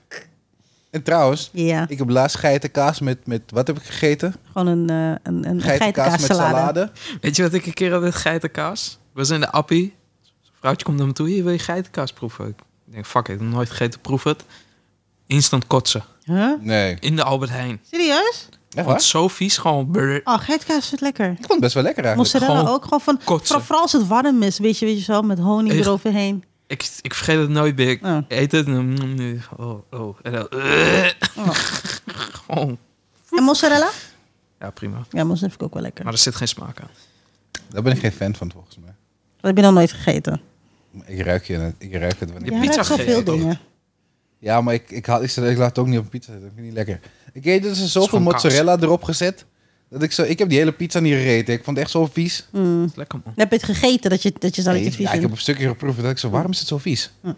En trouwens,
ja,
ik heb laatst geitenkaas met, met... Wat heb ik gegeten?
gewoon een, eh, een, een geitenkaas
met
salade.
salade.
Weet je wat ik een keer had met geitenkaas? Ik was in de appie. Een vrouwtje komt naar me toe. Hier, wil je geitenkaas proeven? Ik denk, fuck it, ik heb nooit gegeten, proef het. Instant kotsen.
Huh?
Nee.
In de Albert Heijn.
Serieus?
Echt
Ik vond
waar?
het zo vies, gewoon... brrr.
Oh, geitenkaas vindt lekker.
Ik vond het best wel lekker eigenlijk.
Mozzarella
gewoon
ook gewoon van...
kotsen.
Vooral, vooral als het warm is, weet je, weet je zo, met honing
Echt?
eroverheen.
Ik, ik vergeet het nooit meer. Ik
Oh.
eet het en... dan- mm, Oh, oh. En dan... eh.
Oh.
Gewoon.
En mozzarella?
Ja, prima.
Ja, mozzarella vind ik ook wel lekker.
Maar er zit geen smaak aan.
Daar ben ik geen fan van volgens mij.
Dat heb je nog nooit gegeten.
Maar Ik ruik, je, het- ik ruik het wanneer
Je
Ja,
pizza
hebt zoveel
gegeten.
dingen.
Ja, maar ik, ik, haal, ik, zet- ik laat het ook niet op pizza zitten. Dat vind ik niet lekker. Ik eet dus er zoveel
gewoon kaas.
mozzarella erop gezet. Dat ik, zo, ik heb die hele pizza niet gegeten. Ik vond het echt zo vies.
Mm.
Het is lekker, man.
Dan heb je het gegeten dat je, dat je zou
Nee,
het vies
ja, ik heb
vindt.
op stukje geproefd. Dat ik zo, waarom is het zo vies?
Hm.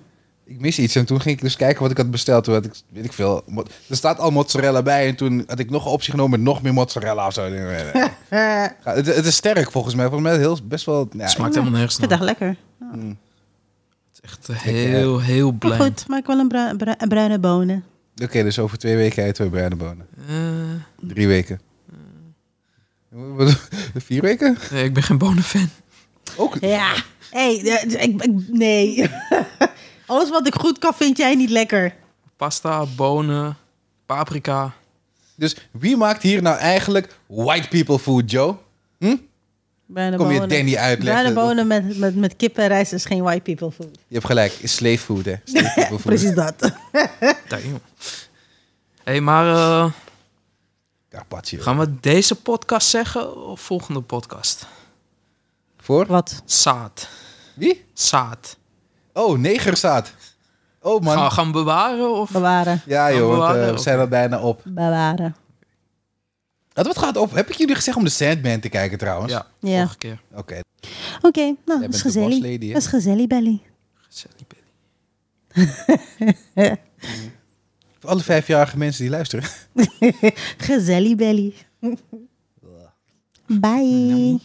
Ik mis iets. En toen ging ik dus kijken wat ik had besteld. Toen had ik, weet ik veel. mo- Er staat al mozzarella bij. En toen had ik nog een optie genomen met nog meer mozzarella of zo. Ik denk, nee, nee.
Eh,
Ja, het, het is sterk volgens mij. Volgens mij heel, best wel.
Het
Ja,
smaakt helemaal nergens
ik
naar.
vind het echt lekker.
mm.
Het is echt heel, heel
Maar
blij.
goed, maak wel een bru- bru- bruine bonen.
Oké, dus over twee weken eten we bruine bonen.
Eh,
Drie weken.
Mm.
Wat- Vier weken?
nee, ik ben geen bonenfan.
Ook.
Ja. Hey, eh, ik, ik- nee. Alles wat ik goed kan, vind jij niet lekker.
Pasta, bonen, paprika.
Dus wie maakt hier nou eigenlijk white people food, Joe?
Bruine
Kom je
bonen.
Danny
Bruine
uitleggen?
bonen met, met, met kip en rijst is geen white people food.
Je hebt gelijk. Is slave food, hè? Slave people food.
Precies dat.
Damn. hey, maar eh,
Carpaccio.
gaan we deze podcast zeggen of volgende podcast?
Voor?
Wat?
Zaad.
Wie?
Zaad.
Oh, negerzaad. Oh man.
Gaan we gaan we bewaren? Of?
Bewaren.
Ja
Gaan we
joh, want,
bewaren,
eh, we
oké.
zijn er bijna op.
Bewaren.
Dat wat gaat op. Heb ik jullie gezegd om de Sandman te kijken trouwens?
Ja,
Ja.
vorige keer.
Oké,
Oké, nou,
jij
dat is
bent de boss
gezellig.
lady, hè?
Dat is gezellig, Belly.
Gezellig, Billy.
Voor alle vijfjarige mensen die luisteren.
Gezellig, Belly. Bye.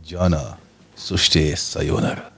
Jana, sushi, sayonara.